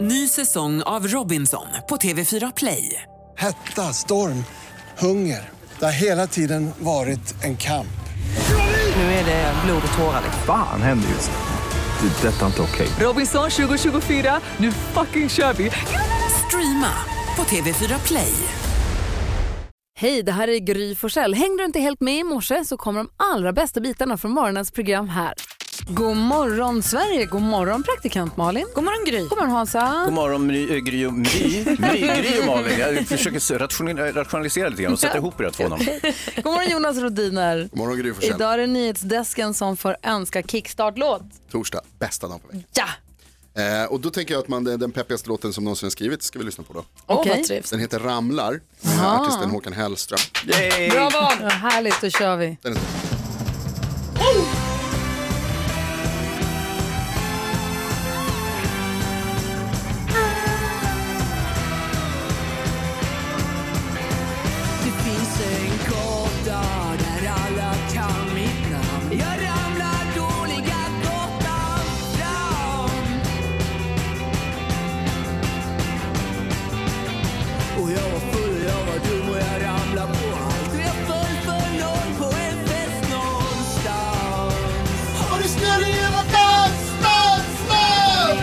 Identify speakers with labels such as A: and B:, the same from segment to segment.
A: Ny säsong av Robinson på TV4 Play.
B: Hetta, storm, hunger. Det har hela tiden varit en kamp.
A: Nu är det blod och tårar. liksom.
C: Fan händer just nu. Det. är Detta är inte okej.
A: Robinson 2024, nu fucking kör vi! Streama på TV4 Play.
D: Hej, det här är Gry Forssell. Hängde du inte helt med i morse så kommer de allra bästa bitarna från morgonens program här. God morgon Sverige, god morgon praktikant Malin. God morgon Gry. God morgon Hansa.
E: God morgon Mry, eh, Gry och Mry. Mry, Gry och Malin. Jag försöker s- rationi- rationalisera lite grann och sätta ihop era två namn.
D: God morgon Jonas Rodiner.
F: God morgon Gry Forssell.
D: Idag är det nyhetsdesken som får önska kickstart-låt.
F: Torsdag, bästa dagen på veckan.
D: Ja!
F: Eh, och då tänker jag att man, den den peppigaste låten som någonsin har skrivits ska vi lyssna på då.
D: Okej.
F: Den heter Ramlar, med artisten Håkan Hellström.
E: Yay!
D: Ja, härligt, då kör vi.
F: Den är...
G: Det finns en kort dag där alla kan mitt namn Jag ramlar dåliga gatan fram Och jag var full och jag var dum och jag ramlade på allt Och jag föll för någon på en fest någonstans Har du snurr i övat dans, dans, dans?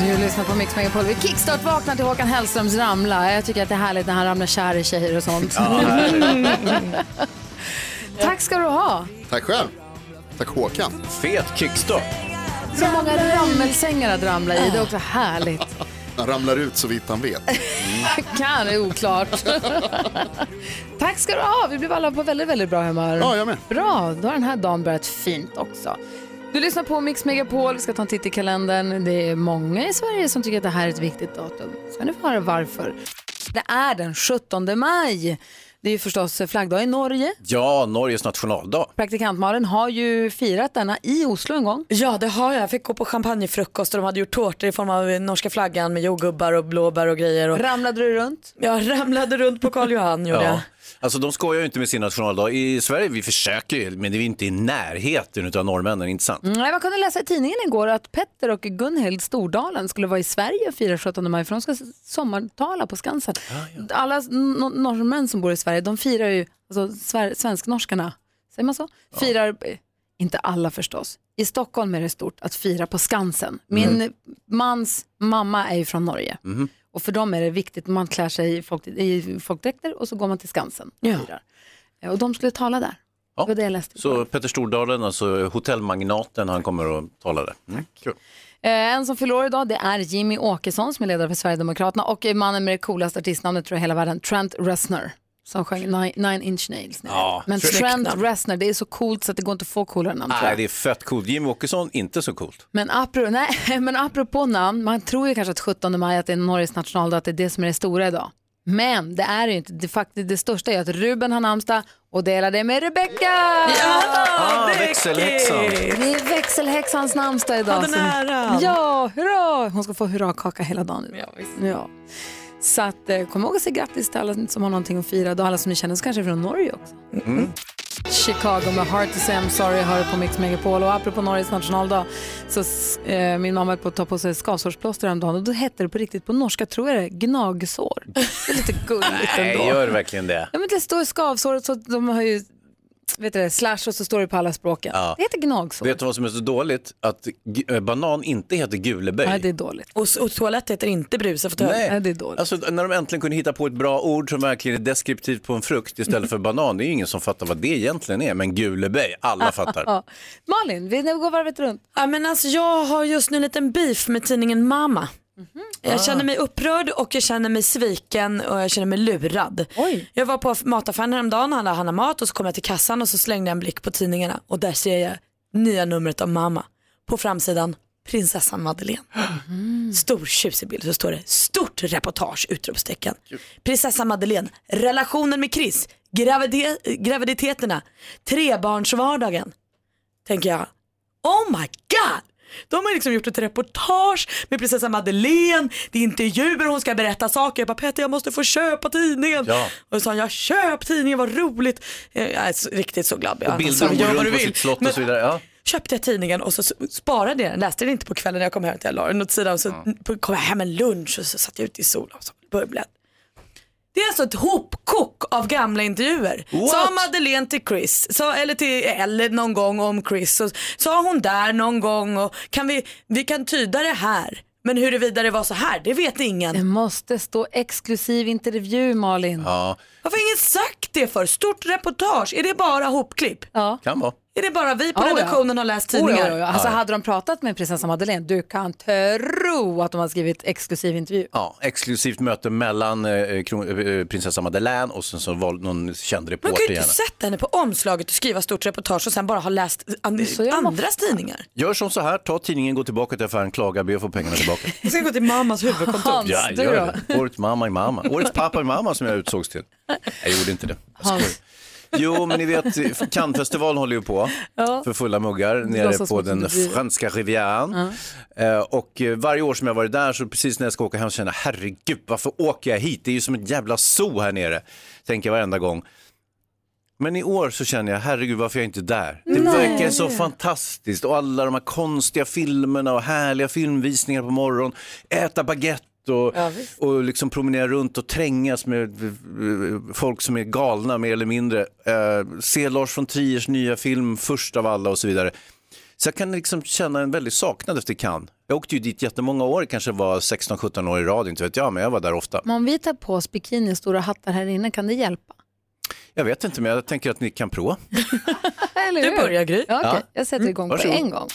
D: Du lyssnar på Mix Megapol. Vi kickstart vaknar till Håkan Hellströms ramla. Jag tycker att det är härligt när han ramlar kär i tjejer och sånt. Tack ska du ha.
F: Tack själv. Tack Håkan.
E: Fet kickstart.
D: Så många rammelsängar att ramla i. Det är också härligt.
F: Han ramlar ut så vitt han vet.
D: Kan, det är oklart. Tack ska du ha. Vi blev alla på väldigt, väldigt bra humör.
F: Ja, jag med.
D: Bra, då har den här dagen börjat fint också. Du lyssnar på Mix Megapol, vi ska ta en titt i kalendern. Det är många i Sverige som tycker att det här är ett viktigt datum. Ska ni få höra varför. Det är den 17 maj. Det är ju förstås flaggdag i Norge.
E: Ja, Norges nationaldag.
D: Praktikant Malin har ju firat denna i Oslo en gång.
H: Ja det har jag. Jag fick gå på champagnefrukost och de hade gjort tårtor i form av eh, norska flaggan med jordgubbar och blåbär och grejer. Och
D: Ramlade du runt?
H: jag ramlade runt på Karl Johan gjorde jag.
E: Ja. Alltså de skojar ju inte med sin nationaldag. I Sverige, vi försöker ju, men det är inte i närheten utav norrmännen, inte sant?
D: Mm, Nej, man kunde läsa i tidningen igår att Petter och Gunhild Stordalen skulle vara i Sverige och fira 17 maj för de ska sommartala på Skansen. Alla s- no- norrmän som bor i Sverige, de firar ju, alltså sver- svensknorskarna, säger man så? Firar, eh, inte alla förstås. I Stockholm är det stort att fira på Skansen. Min mans mamma är ju från Norge. Och för dem är det viktigt, man klär sig i, folk, i folkdräkter och så går man till Skansen och firar. Eh, Och de skulle tala där.
E: Ja.
D: Det var det jag läste.
E: Så Petter Stordalen, alltså hotellmagnaten, han kommer och talar där. Mm. Kul.
D: Eh, En som fyller år idag det är Jimmy Åkesson som är ledare för Sverigedemokraterna och är mannen med det coolaste artistnamnet tror jag i hela världen, Trent Reznor. Som sjöng Nine, Nine Inch Nails. ni vet.
E: Ja,
D: Men
E: snyggt
D: Trent Reznor, det är så coolt så att det går inte att få coolare namn tror
E: Nej,
D: jag.
E: det är fett coolt. Jimmy Åkesson, inte så coolt.
D: Men, apro, nej, men apropå namn, man tror ju kanske att 17 maj att det är Norges nationaldag, att det är det som är det stora idag. Men det är det ju inte. Det, faktiskt, det största är att Ruben har namnsdag och delar det med Rebecca!
E: Ah, växelhäxan.
D: Det är växelhäxans namnsdag idag.
H: den
D: så-
H: äran.
D: Ja, hurra! Hon ska få hurrakaka hela dagen. Ja, ja. Så att, eh, kom ihåg att säga grattis till alla som har någonting att fira och alla som ni känner som kanske är från Norge också.
E: Mm.
D: Chicago med Heart to Say I'm Sorry hör på Mix Megapol och apropå Norges nationaldag så s- eh, min mamma höll på att ta på sig skavsårsplåster häromdagen och då hette det på riktigt på norska tror jag det gnagsår. Det är lite gulligt ändå.
E: Nej, gör verkligen det?
D: Ja, men det står skavsåret så att de har ju vet du, det, slash och så står det på alla språken. Det heter gnagsår.
E: Vet du vad som är så dåligt? Att g- eh, banan inte heter guleböj.
D: Nej, det är dåligt.
H: Och, s- och toalett heter inte brusefåtölj.
E: Nej.
D: Nej, det är dåligt.
E: Alltså när de äntligen kunde hitta på ett bra ord som verkligen är deskriptivt på en frukt istället för banan. Det är ju ingen som fattar vad det egentligen är, men guleböj, alla fattar.
D: Ja. Malin, vi nu går varvet runt.
H: Ja, men alltså, jag har just nu en liten beef med tidningen Mama. Jag känner mig upprörd och jag känner mig sviken och jag känner mig lurad.
D: Oj.
H: Jag var på mataffären häromdagen, handlade handlade mat och så kom jag till kassan och så slängde jag en blick på tidningarna och där ser jag nya numret av Mamma. På framsidan prinsessan Madeleine. Stor tjusig bild så står det stort reportage utropstecken. Prinsessa Madeleine, relationen med Chris, gravide- graviditeterna, trebarnsvardagen. Tänker jag, Oh my god! De har liksom gjort ett reportage med prinsessa Madeleine, det är intervjuer, hon ska berätta saker. Jag bara Petter jag måste få köpa tidningen.
E: Ja.
H: Och så sa han, jag köp tidningen, vad roligt. Eh, Jag är så- riktigt så glad. Jag
E: Bilder
H: sa,
E: hon
H: gör
E: går
H: vad
D: Alltså,
H: du
E: runt på
H: vill.
E: sitt slott
H: Men-
E: och så vidare. Ja.
H: köpte jag tidningen och så s- sparade jag den, läste den inte på kvällen när jag kom hem till jag la den åt sidan och så på- kom jag hem en lunch och så satt jag ute i solen och så bubblade. Det är alltså ett hopkok av gamla intervjuer. Sa Madeleine till Chris, sa, eller till Elle någon gång om Chris, och, sa hon där någon gång och kan vi, vi kan tyda det här. Men huruvida det var så här, det vet ingen.
D: Det måste stå exklusiv intervju, Malin. Ja.
H: Varför har ingen sagt det för? Stort reportage, är det bara hopklipp?
E: Kan vara.
H: Är det bara vi på
D: Oh, ja.
H: redaktionen har läst
D: Oh,
H: tidningar?
D: ja, ja. Alltså, hade de pratat med prinsessan Madeleine, du kan tro att de har skrivit exklusiv intervju.
E: Ja, exklusivt möte mellan eh, kron- eh, prinsessa Madeleine och sen så var någon känd
H: Man kan
E: reporter
H: ju inte
E: gärna.
H: sätta henne på omslaget och skriva stort reportage och sen bara ha läst an-
D: Så gör man
H: andras tidningar.
E: Gör som så här, ta tidningen, gå tillbaka till affären, klaga, be att få pengarna tillbaka.
H: Jag ska gå till mammas huvudkontor.
D: Hans, du
E: gör
D: då?
E: det. Årets mamma i mamma. Årets pappa i mamma som jag utsågs till. Jag gjorde inte det. Jag skojar.
D: Hans.
E: Jo, men ni vet, Cannesfestivalen håller ju på för fulla muggar nere
D: låtsas som
E: på
D: att du
E: den
D: bryr dig.
E: franska rivieran. Eh, och eh, varje år som jag varit där så precis när jag ska åka hem så känner jag, herregud, varför åker jag hit? Det är ju som ett jävla zoo här nere, tänker jag varenda gång. Men i år så känner jag, herregud varför är jag inte där? Det verkar så fantastiskt och alla de här konstiga filmerna och härliga filmvisningar på morgonen, äta baguette och, och liksom promenera runt och trängas med eh, folk som är galna mer eller mindre. Eh, se Lars von Triers nya film först av alla och så vidare. Så jag kan liksom känna en väldig saknad efter Cannes. Jag åkte ju dit jättemånga år, kanske var 16-17 år i rad, inte vet jag, men jag var där ofta.
D: Men om vi tar på oss bikini och stora hattar här inne, kan det hjälpa?
E: Jag vet inte, men jag tänker att ni kan prova.
D: Eller
H: Du
D: hur?
H: börjar Gry.
D: Ja, okej. Jag sätter igång på
E: Mm, Varsågod.
D: en gång.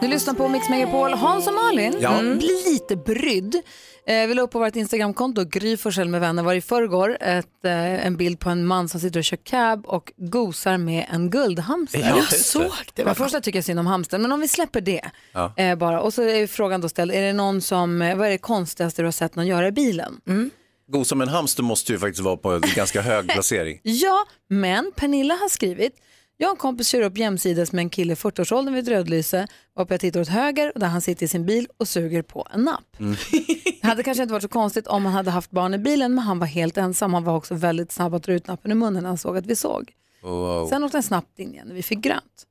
D: Du lyssnar på Mix Megapol. Hans och Malin,
E: Ja.
D: mm. bli lite brydd. Eh, vi la upp på vårt Instagramkonto, Gry Forssell med vänner, var i förrgår ett, eh, en bild på en man som sitter och kör cab och gosar med en guldhamster.
E: Ja,
H: Jag såg det.
D: Men först så tycker jag synd om hamstern, men om vi släpper det
E: Ja.
D: eh, bara. Och så är frågan då ställd, är det någon som, eh, vad är det konstigaste du har sett någon göra i bilen?
E: God som en hamster måste ju faktiskt vara på en ganska hög placering.
D: Ja, men Pernilla har skrivit, jag och en kompis kör upp jämsides med en kille i 40-årsåldern vid ett rödlyse, varpå jag tittar åt höger och där han sitter i sin bil och suger på en napp.
H: Mm.
D: Det hade kanske inte varit så konstigt om han hade haft barn i bilen, men han var helt ensam. Han var också väldigt snabb att dra ut nappen i munnen när han såg att vi såg.
E: Wow.
D: Sen åkte han snabbt in igen när vi fick grönt.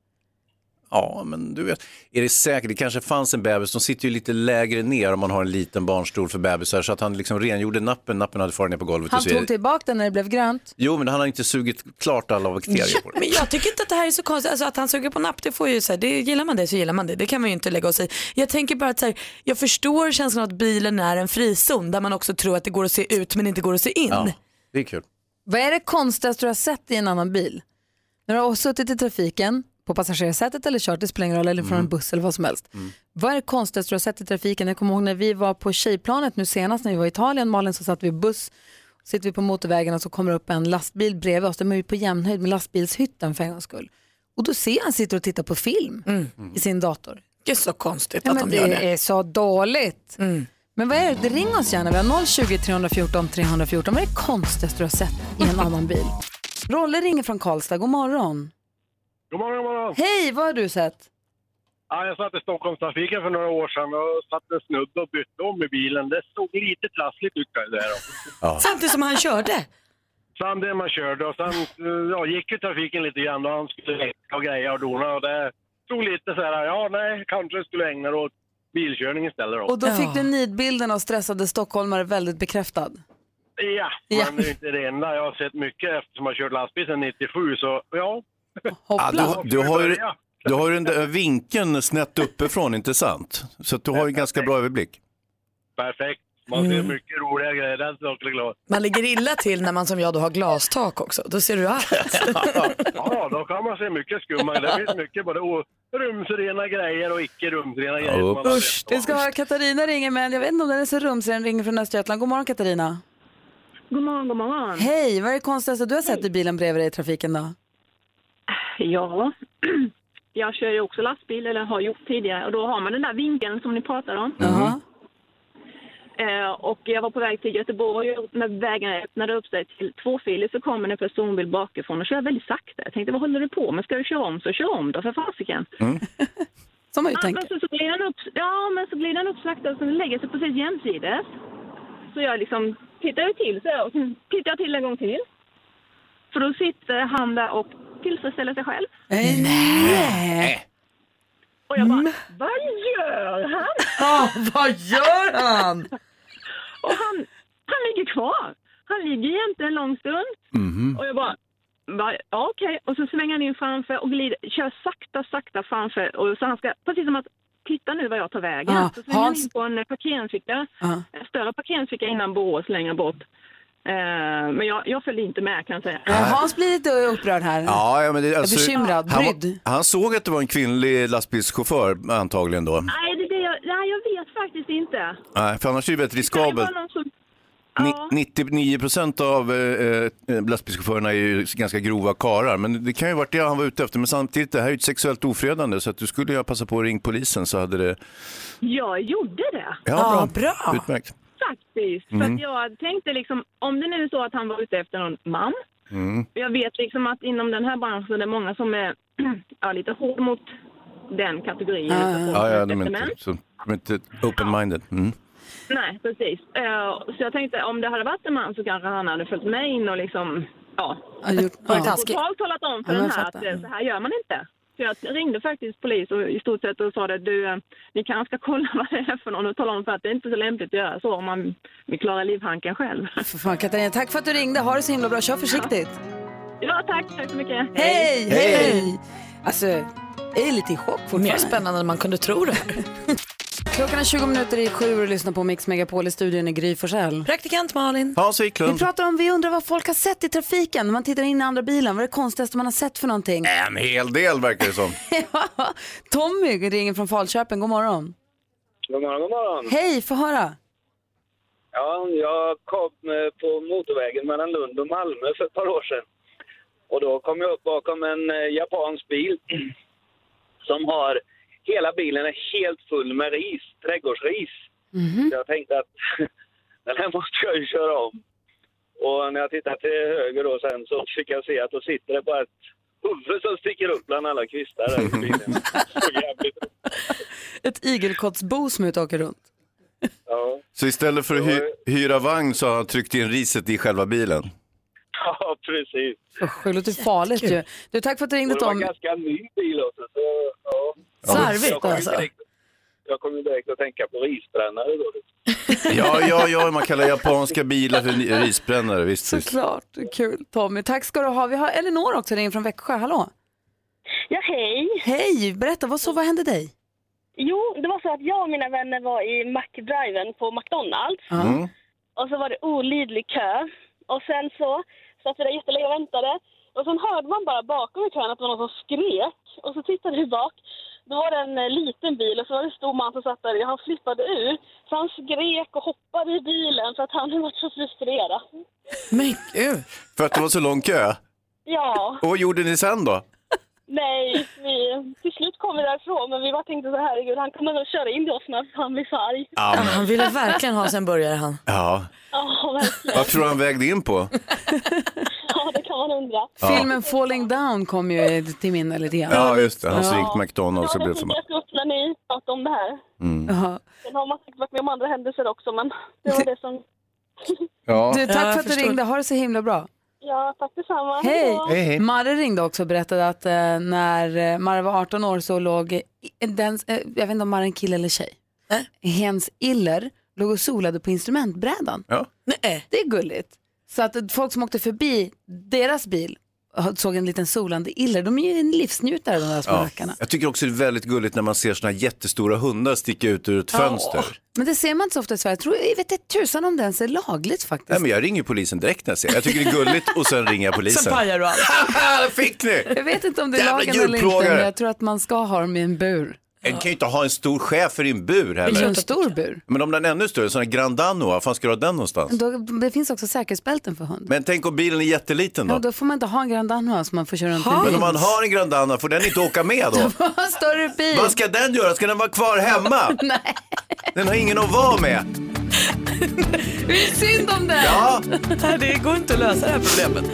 E: Ja, men du vet, är det säkert, det kanske fanns en bebis, de sitter ju lite lägre ner om man har en liten barnstol för bebisar, så att han liksom rengjorde nappen, nappen hade farit ner på golvet.
D: Han
E: och typ så vidare.
D: tog tillbaka den när det blev grönt.
E: Jo, men han har inte sugit klart alla bakterier på det.
H: Men jag tycker inte att det här är så konstigt, alltså att han suger på napp, det får ju så här, det, gillar man det så gillar man det, det kan man ju inte lägga oss i. Jag tänker bara att så här, jag förstår känslan av att bilen är en frizon där man också tror att det går att se ut men inte går att se in.
E: Ja, det är kul.
D: Vad är det konstigaste du har sett i en annan bil? När du har suttit i trafiken, på passagerarsätet eller kört, det spelar ingen roll, eller från en buss eller vad som helst. Vad är det konstigaste du har sett i trafiken? Jag kommer ihåg när vi var på tjejplanet nu senast när vi var i Italien, Malin, så satt vi i buss, sitter vi på motorvägen och så kommer upp en lastbil bredvid oss, de är ju på jämnhöjd med lastbilshytten för en gångs skull. Och då ser jag han sitter och tittar på film i sin dator.
H: Det är så konstigt
D: Ja,
H: att
D: men
H: de gör det. Mm.
D: är så dåligt. Men vad är det? Ring oss gärna. Vi har 020 314 314. Vad är det konstigaste du har sett i en annan bil? Rolle ringer från Karlstad. God morgon.
I: God morgon, god morgon.
D: Hej, vad har du sett?
I: Ja, jag satt i Stockholmstrafiken för några år sedan och satt en snubbe och bytte om i bilen. Det såg lite trassligt ut där. då.
H: Samtidigt som han körde.
I: Samtidigt man körde och sen eh, ja, gick ju trafiken lite grann och han skulle väcka och greja och dona och det stod lite så här, ja nej, kanske skulle ägna dig åt bilkörning istället då.
D: Och då fick
H: Ja.
D: du nidbilden av stressade stockholmare väldigt bekräftad.
I: Ja,
D: Ja.
I: men det är ju inte det enda. Jag har sett mycket eftersom jag kört lastbil sedan 97 så ja.
E: Ja,
D: Hoppla.
E: du, har- du har ju, du har ju den där vinkeln snett uppifrån, inte sant? Så att du har ju ganska bra överblick.
I: Perfekt. Man
D: Mm.
I: ser mycket roliga grejer. Den saken är klar.
H: Man ligger illa till när man som jag då har glastak också, då ser du allt.
I: Ja, då kan man se mycket skumma. Det finns mycket både o- rumsrena grejer och icke rumsrena grejer. som man har
E: Usch,
I: sett.
D: Det ska vara Katarina ringer, men jag vet inte om den är så rumsig. Den ringer från Östergötland. God morgon Katarina.
J: God morgon, god morgon.
D: Hej, vad är det konstigaste du har sett i bilen bredvid dig i trafiken då?
J: Ja, jag kör ju också lastbil, eller har gjort tidigare, och då har man den där vinkeln som ni pratar om.
D: Jaha.
J: Eh, och jag var på väg till Göteborg och när vägen öppnade upp sig till tvåfilig så kom en personbil bakifrån och körde väldigt sakta. Jag tänkte, vad håller du på med? Ska du köra om så kör om då, för fasiken.
D: Som man ju
J: Ja, men
D: tänker.
J: Alltså, så, så glider han upp, ja, men så glider han upp sakta och sen lägger sig precis jämsides. Så jag liksom tittar ju till så här, och sen tittar jag till en gång till.
G: Mm.
J: För då sitter han där och tillfredsställer sig själv.
D: Nej.
J: Och jag
H: Mm.
J: bara, vad gör han?
D: Ja, vad gör han?
J: Och han, han ligger kvar. Han ligger jämte en lång stund.
D: Mhm.
J: Och jag bara, va, ja, okej. Och så svänger han in framför och glider, kör sakta, sakta framför. Och så han ska, precis som att, titta nu var jag tar vägen.
D: Ja,
J: så svänger han
D: Ah, Hans-
J: in på en eh, parkeringsficka,
D: Ja.
J: en större parkeringsficka innan Borås längre bort. Eh, men jag, jag följde inte med kan jag säga.
D: Ja, Hans blir lite upprörd här.
E: Ja, ja, men det, alltså,
D: bekymrad,
E: han, var-
D: brydd.
E: han såg att det var en kvinnlig lastbilschaufför antagligen då.
J: Nej, det, är det, jag, nej, jag vet faktiskt inte.
E: Nej, för annars är det väldigt
J: Det
E: riskabelt.
J: var någon som...
E: Ni,
J: Ja.
E: 99 procent av eh, eh, lastbilschaufförerna är ju ganska grova karar. Men det kan ju ha varit det han var ute efter. Men samtidigt, det här är ju ett sexuellt ofredande. Så att du skulle ju passa på att ringa polisen så hade det...
J: Jag gjorde det.
E: Ja, bra. Utmärkt.
J: Faktiskt. För
E: Mm.
J: att jag tänkte liksom, om det nu är så att han var ute efter någon man.
E: Mm.
J: Jag vet liksom att inom den här branschen är det många som är ja, lite hård mot den kategorin.
E: Ja,
J: utav folk
E: ja,
J: som är
E: de är
J: ute
E: inte,
J: efter män.
E: så, de är inte open-minded. Mm.
J: Nej, precis. Eh, så jag tänkte om det hade varit en man så kanske han hade följt med in och liksom, ja.
D: Ja, gjort- Varit
J: ja.
D: taskig.
J: Totalt talat om för
D: Ja, men
J: den
D: jag
J: här att
D: fattar.
J: eh, så här gör man inte. Så jag ringde faktiskt polis och i stort sett och sa det, du, eh, ni kanske ska kolla vad det är för någon och tala om för att det är inte så lämpligt att göra så om man vill klara livhanken själv.
D: För fan, Katarina, tack för att du ringde. Ha det så himla bra. Kör försiktigt.
J: Ja, tack. Tack så mycket.
D: Hej, hej!
H: Hej.
D: Alltså, jag är lite i chock fortfarande.
H: Mer spännande än man kunde tro det här.
D: Klockan är 20 minuter i sju och lyssnar på Mix Megapol i studion i Gry Forssell.
H: Praktikant Malin.
E: Hans
D: Vi
E: Wiklund.
D: pratar om, vi undrar vad folk har sett i trafiken när man tittar in i andra bilen. Vad är det konstigaste man har sett för någonting?
E: En hel del verkar det som.
D: Tommy ringer från Falköping, god morgon.
K: God morgon, god morgon.
D: Hej, få höra.
K: Ja, jag kom eh, på motorvägen mellan Lund och Malmö för ett par år sedan. Och då kom jag upp bakom en eh, japansk bil som har... Hela bilen är helt full med ris, trädgårdsris. Så jag tänkte att den här måste jag ju köra om. Och när jag tittade till höger då sen så fick jag se att då sitter det bara ett huvud som sticker upp bland alla kvistar där i bilen. Så jävligt.
D: Ett igelkottsbo som är ute och åker runt.
K: Ja.
E: Så istället för att hy- hyra vagn så har han tryckt in riset i själva bilen.
K: ja, precis.
D: Usch, det låter farligt ju. Du, tack för att du ringde
K: Och det var
D: Tom.
K: ganska ny bil också. Så, ja.
D: Slarvigt,
K: jag kom ju
D: alltså.
K: direkt- Jag kom ju direkt att tänka på risbrännare då.
E: Ja, ja, ja, man kallar japanska bilar för ni- risbrännare. Visst, visst.
D: Såklart, kul Tommy. Tack ska du ha. Vi har Elinor också, ringer från Växjö. Hallå?
L: Ja, hej.
D: Hej, berätta, vad, så, vad hände dig?
L: Jo, det var så att jag och mina vänner var i McDriven på McDonalds.
D: Mm.
L: Och så var det olidlig kö. Och sen så satt vi där jättelänge och väntade. Och sen hörde man bara bakom i kön att det var någon som skrek. Och så tittade vi bak. Då var det en eh, liten bil och så var det en stor man som satt där. Han flippade ur. Så han skrek och hoppade i bilen för att han hade varit så frustrerad.
E: Men gud. För att det var så lång kö.
L: Ja,
E: Och vad gjorde ni sen då?
L: nej, vi, till slut kom vi därifrån. Men vi bara tänkte så här, herregud, han kommer nog köra in i oss när han blir så arg.
E: Ja, men-
H: Han ville verkligen ha sig en burgare han.
E: Ja,
L: Ja, verkligen.
E: vad tror du han vägde in på?
L: Ja, det kan man undra.
D: Filmen Falling Down kom ju till minne lite grann.
E: Ja, just det. Han som
D: Ja.
E: gick McDonalds och
L: Ja, det
E: blev för
L: fick
E: man.
L: jag upp när ni pratade om det här.
E: Mm.
D: Ja.
L: Sen har man säkert varit med om andra händelser också, men det var det som...
E: Ja.
D: Du, tack
L: Ja, jag
D: för att du
L: förstår.
D: ringde. Ha det så himla bra.
L: Ja, tack detsamma.
D: Hej!
L: då.
D: Marre ringde också och berättade att eh, när eh, Marre var 18 år så låg, eh, den, eh, jag vet inte om Marre är en kille eller tjej,
L: Äh?
D: Hens Iller låg och solade på instrumentbrädan.
E: Ja.
D: Nej. Det är gulligt. Så att eh, folk som åkte förbi deras bil eh, såg en liten solande iller. De är ju en livsnjutare de där små
E: Ja.
D: rackarna.
E: Jag tycker också det är väldigt gulligt när man ser såna här jättestora hundar sticka ut ur ett fönster.
D: Men det ser man inte så ofta i Sverige. Jag, tror, jag vet inte tusan om det ens är lagligt faktiskt.
E: Nej, men jag ringer polisen direkt när jag ser. Jag tycker det är gulligt och sen ringer jag polisen.
D: du allt.
E: Haha, det fick ni!
D: Jag vet inte om det är
E: Jävla
D: lagen eller inte,
E: djurplågare.
D: men jag tror att man ska ha dem i en bur.
E: En kan ju inte ha en stor schäfer i en bur
D: Eller en
E: heller.
D: stor bur.
E: Men om den är ännu större, en sån här Grand Danoa, var fan ska du ha den någonstans?
D: Då, det finns också säkerhetsbälten för hund.
E: Men tänk om bilen är jätteliten
D: Ja,
E: då?
D: då får man inte ha en Grand Danois som man får köra runt med
E: Men
D: bil.
E: om man har en Grand Danoa, får den inte åka med då?
D: Ha en större bil.
E: Vad ska den göra? Ska den vara kvar hemma?
D: Nej,
E: Den har ingen att vara med.
D: det är synd om den.
E: Ja.
H: Det går inte att lösa det här problemet.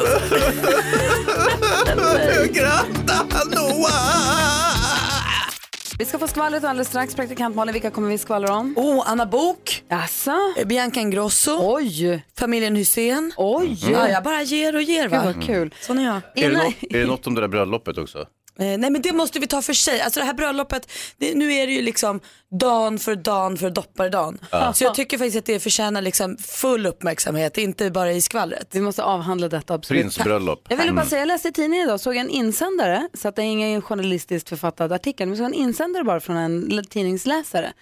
D: Vi ska få skvallret alldeles strax. Praktikant Malin, vilka kommer vi skvallra om?
H: Åh, oh, Anna Bok.
D: Jaså?
H: Bianca Ingrosso.
D: Oj.
H: Familjen Hussein.
D: Oj.
H: Ja, jag bara ger och ger va. Mm.
D: Gud, vad kul.
H: Sån är jag.
E: Är det, något, är det något om det där bröllopet också?
H: Eh, nej men det måste vi ta för sig. Alltså det här bröllopet, det, nu är det ju liksom dan för dan för dopparedan.
D: Ja.
H: Så jag tycker faktiskt att det förtjänar liksom full uppmärksamhet, inte bara i skvallret.
D: Vi måste avhandla detta absolut.
E: Prinsbröllop.
D: Jag ville bara
E: Mm.
D: säga, jag läste i tidningen idag, såg en insändare, så att det är ingen journalistiskt författad artikel, men såg en insändare bara från en l- tidningsläsare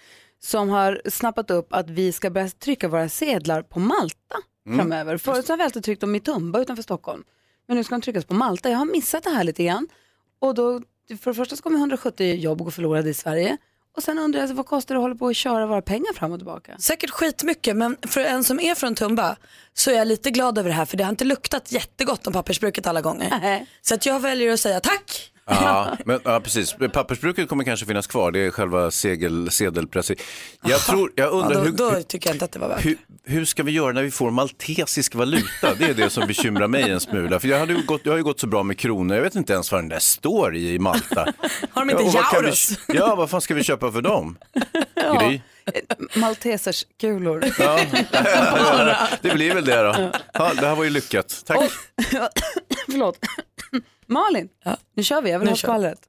D: som har snappat upp att vi ska börja trycka våra sedlar på Malta
G: Mm.
D: framöver. Förut så har vi alltid tryckt dem i Tumba utanför Stockholm, men nu ska de tryckas på Malta. Jag har missat det här lite grann. Och då, för det första så kommer 170 jobb gå förlorade i Sverige. Och sen undrar jag, vad kostar det att hålla på och köra våra pengar fram och tillbaka?
H: Säkert skitmycket men för en som är från Tumba så är jag lite glad över det här för det har inte luktat jättegott om pappersbruket alla gånger. Så att jag väljer att säga tack.
E: Ja, men, ja, precis. Pappersbruket kommer kanske finnas kvar, det är själva segel, sedelpressen. Jag, tror, jag undrar
H: ja, då,
E: hur,
H: då tycker jag inte att det var värt.
E: hur, hur ska vi göra när vi får maltesisk valuta? Det är det som bekymrar mig en smula. För jag, hade ju gått, jag har ju gått så bra med kronor, jag vet inte ens vad den där står i i Malta.
H: Har de inte
E: och vad kan vi-
H: Jaurus?
E: Ja, vad fan ska vi köpa för dem? Gry?
D: Maltesers kulor.
E: Ja. Ja, det blir väl det då. Ja, det här var ju lyckat. Tack.
D: Förlåt. Malin, nu kör vi. Jag vill
H: Nu
D: ha
H: kör
D: skvallret.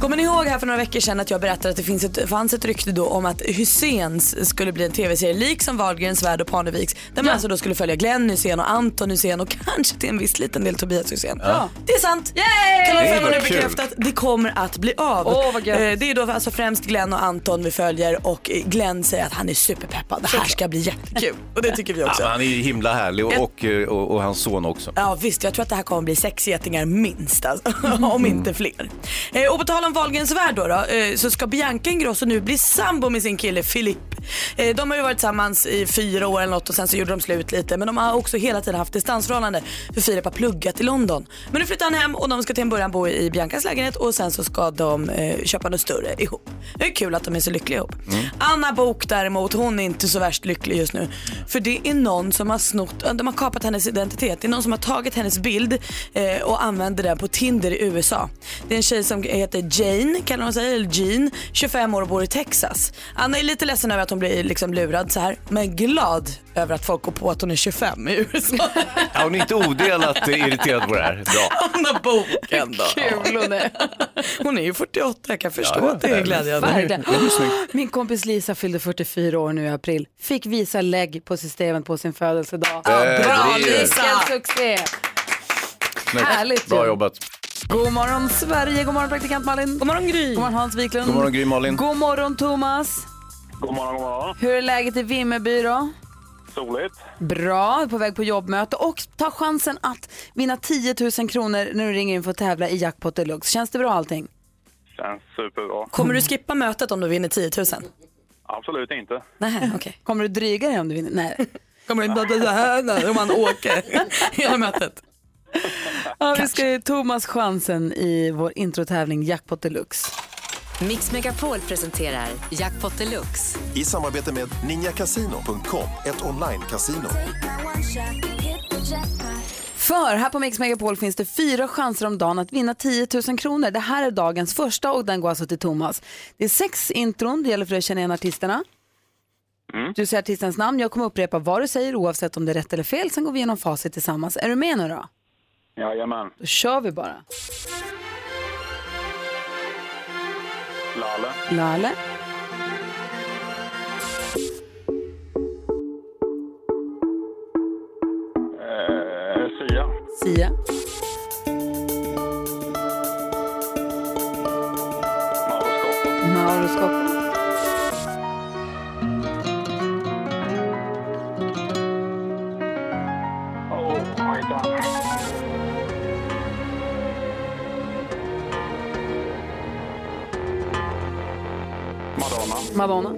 H: Kommer ni ihåg här för några veckor sedan att jag berättade att det finns ett, fanns ett rykte då om att Hyséns skulle bli en tv-serie lik som Wahlgrens värld och Parneviks. Där man alltså då skulle följa Glenn Hysén och Anton Hysén och kanske till en viss liten del Tobias Hysén.
G: Ja.
H: Det är sant!
G: Det
H: Kanal 5
G: var
H: har nu
G: kul.
H: bekräftat, det kommer att bli av.
G: Åh, vad gött.
H: Eh, det är då alltså främst Glenn och Anton vi följer och eh, Glenn säger att han är superpeppad. Det här ska bli jättekul och det tycker vi
E: Ja,
H: också.
E: men han är ju himla härlig och, och, och, och hans son också.
H: Ja visst, jag tror att det här kommer bli sex getingar minst alltså, om inte fler. Eh, och på tal om Wahlgrens värld då, då eh, så ska Bianca Ingrosso nu bli sambo med sin kille Filip. Eh, de har ju varit tillsammans i fyra år eller något och sen så gjorde de slut lite men de har också hela tiden haft distansförhållande för Filip har pluggat i London. Men nu flyttar han hem och de ska till en början bo i Biancas lägenhet och sen så ska de eh, köpa något större ihop. Det är kul att de är så lyckliga ihop. Anna Bok däremot, hon är inte så värst lycklig just nu. För det är någon som har snott, de har kapat hennes identitet. Det är någon som har tagit hennes bild eh, och använder den på Tinder i USA. Det är en tjej som heter Jane, kallar hon sig, eller Jean, 25 år och bor i Texas. Anna är lite ledsen över att hon blir liksom lurad så här, men glad över att folk går på att hon är 25 i USA.
E: Ja, hon är inte odelat eh, irriterad på det här. Bra.
H: Anna Boken då.
D: Kul hon är.
H: Hon är ju 48, jag kan förstå
E: Ja,
H: att det är glädjande.
D: Verkligen. Min kompis Lisa fyllde 44 år nu i april. Fick visa lägg på systemet på sin födelsedag.
E: Ja, Eh, bra, det är- Lisa!
D: Vilken succé!
E: Snyggt.
D: Härligt
E: Bra
D: ju.
E: jobbat.
D: God morgon Sverige, god morgon praktikant Malin. God morgon Gry. God morgon Hans Wiklund.
E: God morgon, Gry, Malin.
D: God morgon Thomas.
I: God morgon, god morgon.
D: Hur är läget i Vimmerby då?
I: Soligt.
D: Bra, på väg på jobbmöte och ta chansen att vinna 10 000 kronor när du ringer in för att tävla i Jackpot Deluxe. Känns det bra allting?
I: Känns superbra.
H: Kommer du skippa mötet om du vinner 10 000?
I: Absolut inte.
H: Nej,
D: Kommer du dryga dig om du vinner? Nej.
H: Kommer du inte så här om man åker hela mötet?
D: Ja, vi ska ge Thomas chansen i vår introtävling Jackpot Deluxe.
M: Mix Megapol presenterar Jackpot Deluxe.
N: I samarbete med ninjakasino.com, ett online-casino.
D: För här på Mix Megapol finns det fyra chanser om dagen att vinna 10 000 kronor. Det här är dagens första och den går alltså till Thomas. Det är sex intron, det gäller för dig att känna igen artisterna.
I: Mm.
D: Du säger artistens namn, jag kommer upprepa vad du säger oavsett om det är rätt eller fel. Sen går vi igenom facit tillsammans. Är du med nu då?
I: Jajamän.
D: Då kör vi bara.
I: Lalle.
D: Lale,
I: Eh, Sia.
D: Sia, Mauro Scocco,
I: Oh my god. Madonna.
D: Madonna,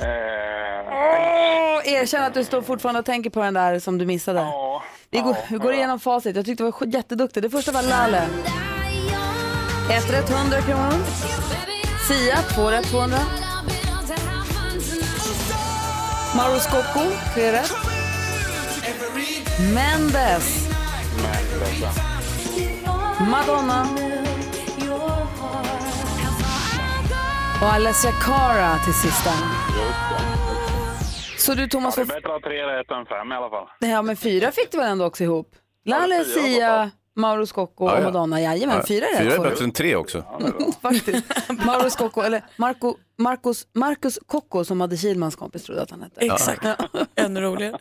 O: Eh.
D: Åh, erkänn att du står fortfarande och tänker på den där som du missade. vi går, vi går igenom facit. Jag tyckte du var sk- jätteduktig. Det första var Lale. Ett rätt 100 kronor. Sia, två rätt 200. Mauro Scocco, tre rätt. Mendes, Madonna och Alessia Cara till sista. Så du Thomas,
O: ja, det är bättre att ha tre rätt än fem i alla fall.
D: ja men fyra fick du väl ändå också ihop? Lalle,
O: fyra,
D: Sia, Mauro Scocco
E: Ja,
D: och
E: ja.
D: Madonna. Jajamän,
E: Ja,
D: fyra rätt Mm.
E: Fyra är
D: får du.
E: bättre än tre också.
D: Faktiskt. Mauro Scocco, eller Marco, Marcus, Marcus Kocko som hade Kilmans kompis trodde att han hette.
E: Exakt.
D: Ännu roligare.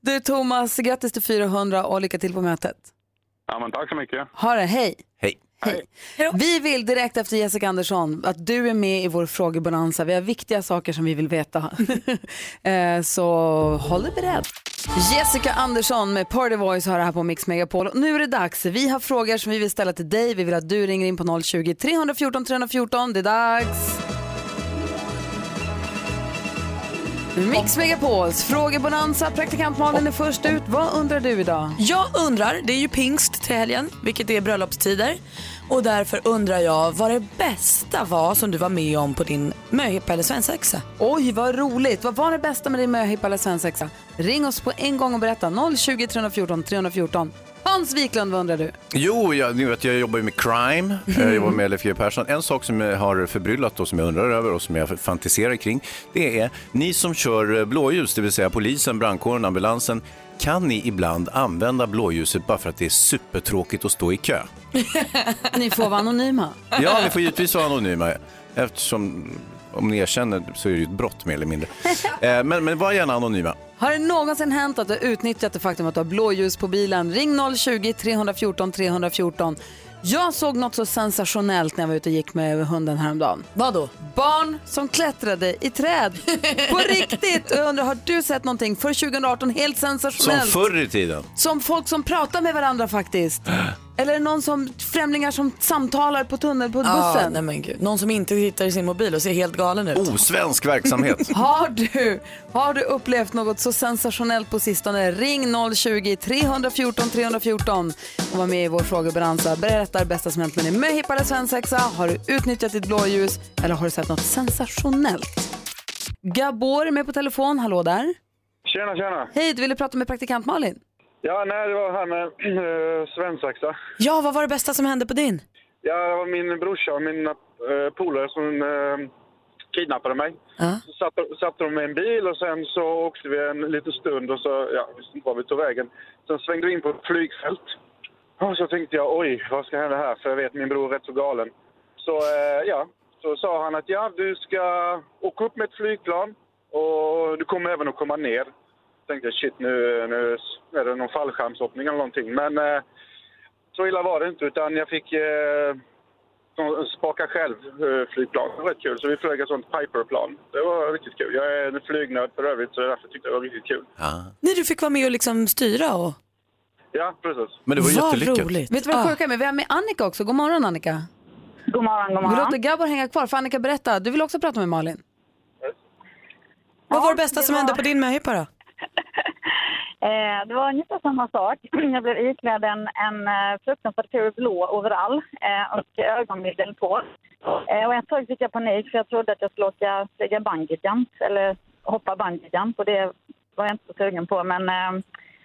D: Du Thomas, grattis till 400 och lycka till på mötet.
O: Ja, men tack så mycket.
D: Ha det, hej.
E: Hej.
D: Vi vill direkt efter Jessica Andersson att du är med i vår frågebonanza. Vi har viktiga saker som vi vill veta. Eh, Så håll dig beredd. Jessica Andersson med Party Voice har det här på Mix Megapol. Och Nu är det dags. Vi har frågor som vi vill ställa till dig. Vi vill att du ringer in på 020-314 314. Det är dags. Mix Megapols frågebonanza. Praktikant Malin är först ut. Vad undrar du idag?
H: Jag undrar, det är ju pingst till helgen, vilket är bröllopstider. Och därför undrar jag vad det bästa var som du var med om på din möhippa eller svensexa?
D: Oj, vad roligt. Vad var det bästa med din möhippa eller svensexa? Ring oss på en gång och berätta. 020 314 314. Hans Wiklund, vad undrar du?
E: Jo, jag, ni vet, jag jobbar ju med crime, jag jobbar med Leif GW Persson. En sak som jag har förbryllat och som jag undrar över och som jag fantiserar kring, det är ni som kör eh, blåljus, det vill säga polisen, brandkåren, ambulansen, kan ni ibland använda blåljuset bara för att det är supertråkigt att stå i kö?
D: Ni får vara anonyma.
E: Ja, ni får givetvis vara anonyma eftersom om ni erkänner så är det ju ett brott mer eller mindre. Eh, Men, men var gärna anonyma.
D: Har det någonsin hänt att du har utnyttjat det faktum att du har blåljus på bilen? Ring 020-314 314. Jag såg något så sensationellt när jag var ute och gick med hunden häromdagen.
H: Vad då?
D: Barn som klättrade i träd. På riktigt! Och Jag undrar, har du sett någonting för 2018 helt
E: Som
D: sensationellt?
E: förr i tiden.
D: Som folk som pratar med varandra faktiskt. Eller är det någon som, främlingar som samtalar på tunnel på
H: Ja,
D: bussen.
H: nej men gud. Någon som inte tittar i sin mobil och ser helt galen ut.
E: Osvensk verksamhet.
D: Har du, har du upplevt något så sensationellt på sistone? Ring 020-314 314 och var med i vår frågebalansa. Berätta det bästa som hänt med din möhippa eller svensexa. Har du utnyttjat ditt blåljus eller har du sett något sensationellt? Gabor är med på telefon. Hallå där.
O: Tjena, tjena.
D: Hej, du ville prata med praktikant Malin.
O: Ja, nej, det var här med äh, svensexa.
H: Ja, vad var det bästa som hände på din?
O: Ja, det var min brorsa och mina eh, polare som eh, kidnappade mig. Så satte, satte de mig i en bil och sen så åkte vi en liten stund och så, ja, jag visste inte var vi tog vägen. Sen svängde vi in på ett flygfält. Och så tänkte jag, oj, vad ska hända här? För jag vet, min bror är rätt så galen. Så, eh, ja, så sa han att ja, du ska åka upp med ett flygplan och du kommer även att komma ner. Tänkte jag, shit, nu, nu är det någon fallskärmshoppning eller någonting. Men eh, så illa var det inte, utan jag fick eh, som spakar själv eh, flygplan. Det var rätt kul. Så vi flög ett sånt Piper-plan. Det var riktigt kul. Jag är en flygnörd för övrigt så därför tyckte jag det var riktigt kul.
H: Nej, du fick vara med och liksom styra och...
O: Ja, precis.
E: Men det
H: var Vad jättelyckat. roligt.
D: Vet du vad det sjuka är med? Vi har med Annika också. God morgon Annika.
P: God morgon, god morgon.
D: Vi låter Gabor hänga kvar. För Annika, berätta. Du vill också prata med Malin.
H: Vad var det bästa som hände på din möhippa då?
P: Eh, det var ungefär samma sak. Jag blev iklädd en, en eh, fruktansvärt ful blå overall eh, och ögonbindel på. Eh, och ett tag fick jag panik för jag trodde att jag skulle åka stiga bungee jump, eller hoppa bungee jump, och det var jag inte så sugen på. Men eh,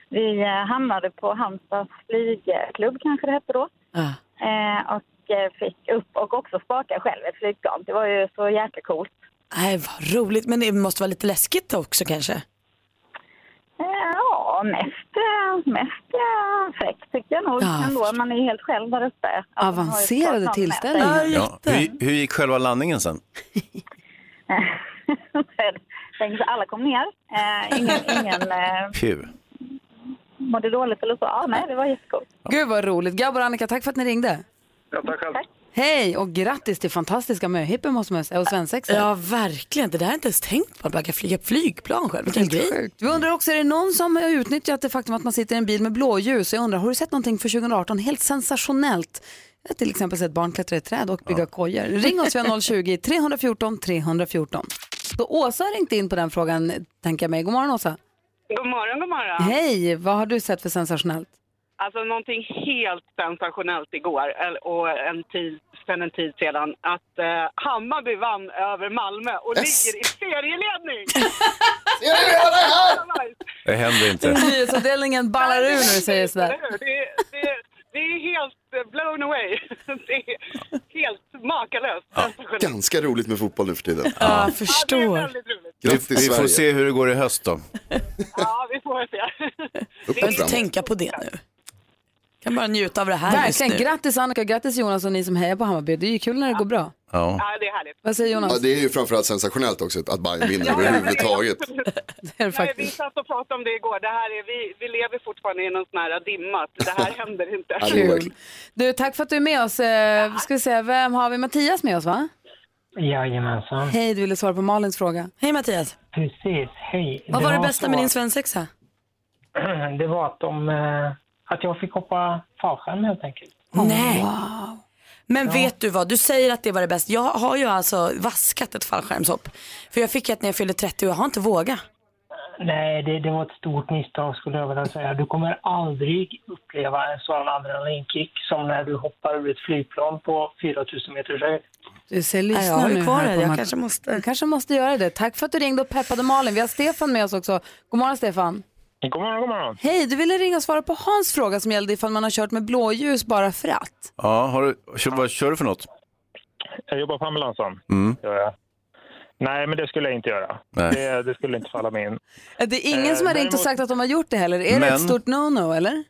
P: vi eh, hamnade på Halmstads flygklubb kanske det hette då. Eh, och eh, fick upp och också spaka själv ett flygplan. Det var ju så jäkla coolt.
H: Nej, vad roligt. Men det måste vara lite läskigt också kanske?
P: Eh, Ja, mest, eh, mest eh, fräckt tycker jag nog
D: Ja,
P: ändå. Man är ju helt själv där uppe. Alltså, man har ju
D: Avancerade
P: såklart någon
D: tillställningar.
P: med sig.
E: Ja. Hur, hur gick själva landningen sen?
P: Tänk så alla kom ner. Eh, Ingen, ingen eh,
E: Pew.
P: mådde dåligt eller så. Ja, nej, det var jättekul.
D: Gud vad roligt. Gabor och Annika, tack för att ni ringde.
O: Ja, tack själv.
D: Hej och grattis till fantastiska möhippor måste man säga och svensexor.
H: Ja, verkligen. Det där har jag inte ens tänkt på. Att man kan flyga flygplan själv. Vilken grej.
D: Vi undrar också, är det någon som har utnyttjat det faktum att man sitter i en bil med blåljus? Jag undrar, har du sett någonting för 2018 helt sensationellt? Jag har till exempel sett barn klättra i träd och bygga kojor. Ring oss via 020-314 314. Då Åsa har ringt in på den frågan, tänker jag mig. God morgon Åsa.
Q: God morgon, god morgon.
D: Hej, vad har du sett för sensationellt?
Q: Alltså någonting helt sensationellt igår eller- och en tid, sen en tid sedan att eh, Hammarby vann över Malmö och
G: Yes.
Q: ligger i serieledning.
G: Ser ni vad det här?
E: Det händer inte.
D: Nyhetsavdelningen ballar ur när du säger sådär.
Q: Eller hur? Det, är- det, är- det är helt eh, blown away. Det är helt makalöst. sensationellt.
F: Ganska roligt med fotboll nu för tiden.
H: Ja, jag förstår.
F: Grattis,
E: vi, vi får
F: Sverige.
E: se hur det går i höst då.
Q: Ja, vi får väl se.
H: Jag behöver inte tänka på det nu. kan bara njuta av det här
D: Verkligen.
H: just nu.
D: Grattis Annika, grattis Jonas och ni som hejar på Hammarby. Det är ju kul när det går bra.
F: Ja.
Q: det är härligt.
D: Vad säger Jonas?
F: Ja, det är ju framförallt sensationellt också att Bayern vinner överhuvudtaget.
D: Det är det
Q: Nej, vi satt och pratade om det igår. Det här är, vi, vi lever fortfarande i någon sån här dimma. att Det här händer inte.
D: Kul. Du, tack för att du är med oss. Eh, Ska vi se, vem har vi? Mattias med oss va?
R: Jajamensan.
D: Hej, du ville svara på Malins fråga.
H: Hej Mattias.
R: Precis, hej.
H: Vad var det
R: var
H: bästa
R: så-
H: med din svensexa?
R: Det var att, de, eh, att jag fick hoppa fallskärm helt enkelt.
H: Nej. Men
R: Ja.
H: vet du vad, du säger att det var det bästa. Jag har ju alltså vaskat ett fallskärmshopp. För jag fick ett när jag fyllde 30 och jag har inte vågat.
R: Nej, det, det var ett stort misstag skulle jag vilja säga. Du kommer aldrig uppleva en sådan adrenalinkick som när du hoppar ur ett flygplan på 4000 meters höjd.
D: Du ser,
R: Nej, jag
D: lyssna
R: har ju
D: nu
R: kvar
D: här
R: det.
D: på
R: Jag
D: Matt-
R: kanske måste-
D: Du kanske måste göra det. Tack för att du ringde och peppade Malin. Vi har Stefan med oss också. God morgon Stefan.
S: Mm. God morgon, god morgon.
D: Hej, du ville ringa och svara på Hans fråga som gällde ifall man har kört med blåljus bara för att.
E: Ja, har du, kör, vad kör du för något?
S: Jag jobbar på ambulansen.
E: Mm.
S: Gör jag. Nej, men det skulle jag inte göra.
E: Nej.
S: Det, det skulle inte falla mig in.
D: Det är ingen
S: Eh,
D: som har ringt och
S: däremot-
D: sagt att de har gjort det heller. Är det
S: Men-
D: ett stort no-no eller?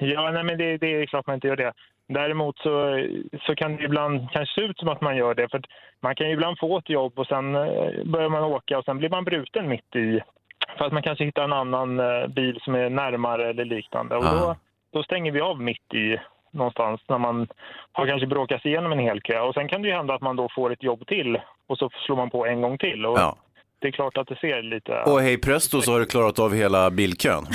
S: Ja, nej, men det, det är klart man inte gör det. Däremot så, så kan det ibland kanske se ut som att man gör det. För att man kan ju ibland få ett jobb och sen eh, börjar man åka och sen blir man bruten mitt i. För att man kanske hittar en annan eh, bil som är närmare eller liknande. Och då, då stänger vi av mitt i någonstans när man har kanske bråkat sig igenom en hel kö. Och sen kan det ju hända att man då får ett jobb till och så slår man på en gång till. Och
E: Ja.
S: Det är klart att det ser lite...
E: Och hej presto så har du klarat av hela bilkön.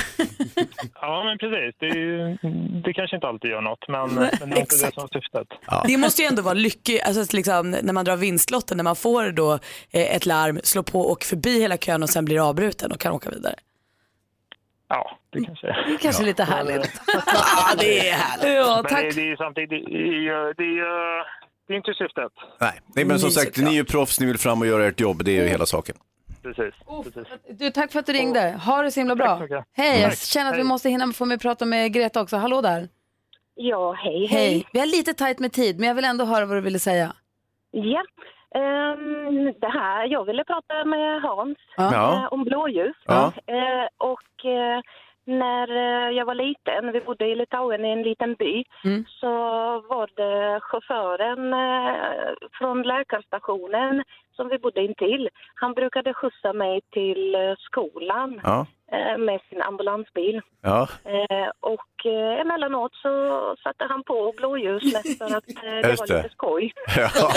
S: Ja, men precis. Det, är ju, det kanske inte alltid gör något, men, men det är inte det som är syftet.
H: Det måste ju ändå vara lyckligt, alltså att liksom, när man drar vinstlotten, när man får då eh, ett larm, slår på och förbi hela kön och sen blir avbruten och kan åka vidare.
S: Ja, det kanske
D: Det är kanske lite härligt.
H: ja, det är härligt.
D: Ja,
S: men
D: tack.
S: Det, det är ju samtidigt, det är ju, det är ju, det är inte syftet.
E: Nej, Nej men som
S: Nej,
E: sagt, ni är ju proffs, ni vill fram och göra ert jobb, det är ju hela saken.
S: Precis. precis.
D: Du, tack för att du ringde. Ha det så himla bra. Hej, jag
E: Tack.
D: känner att vi
E: Hej.
D: måste hinna få med att prata med Greta också. Hallå där.
T: Ja, hej, hej.
D: Hej. Vi har lite tajt med tid, men jag vill ändå höra vad du ville säga.
T: Ja. Ehm, det här, jag ville prata med Hans
D: Ja.
T: eh, om blåljus.
D: Ja.
T: Eh, och eh, när eh, jag var liten, vi bodde i Litauen i en liten by,
D: Mm.
T: så var det chauffören eh, från läkarstationen som vi bodde intill. Han brukade skjutsa mig till eh, skolan
E: Ja.
T: eh, med sin ambulansbil.
E: Ja.
T: Eh, och eh, emellanåt så satte han på blåljus mest för att eh, det
E: Just
T: var
E: det.
T: lite skoj.
E: Ja.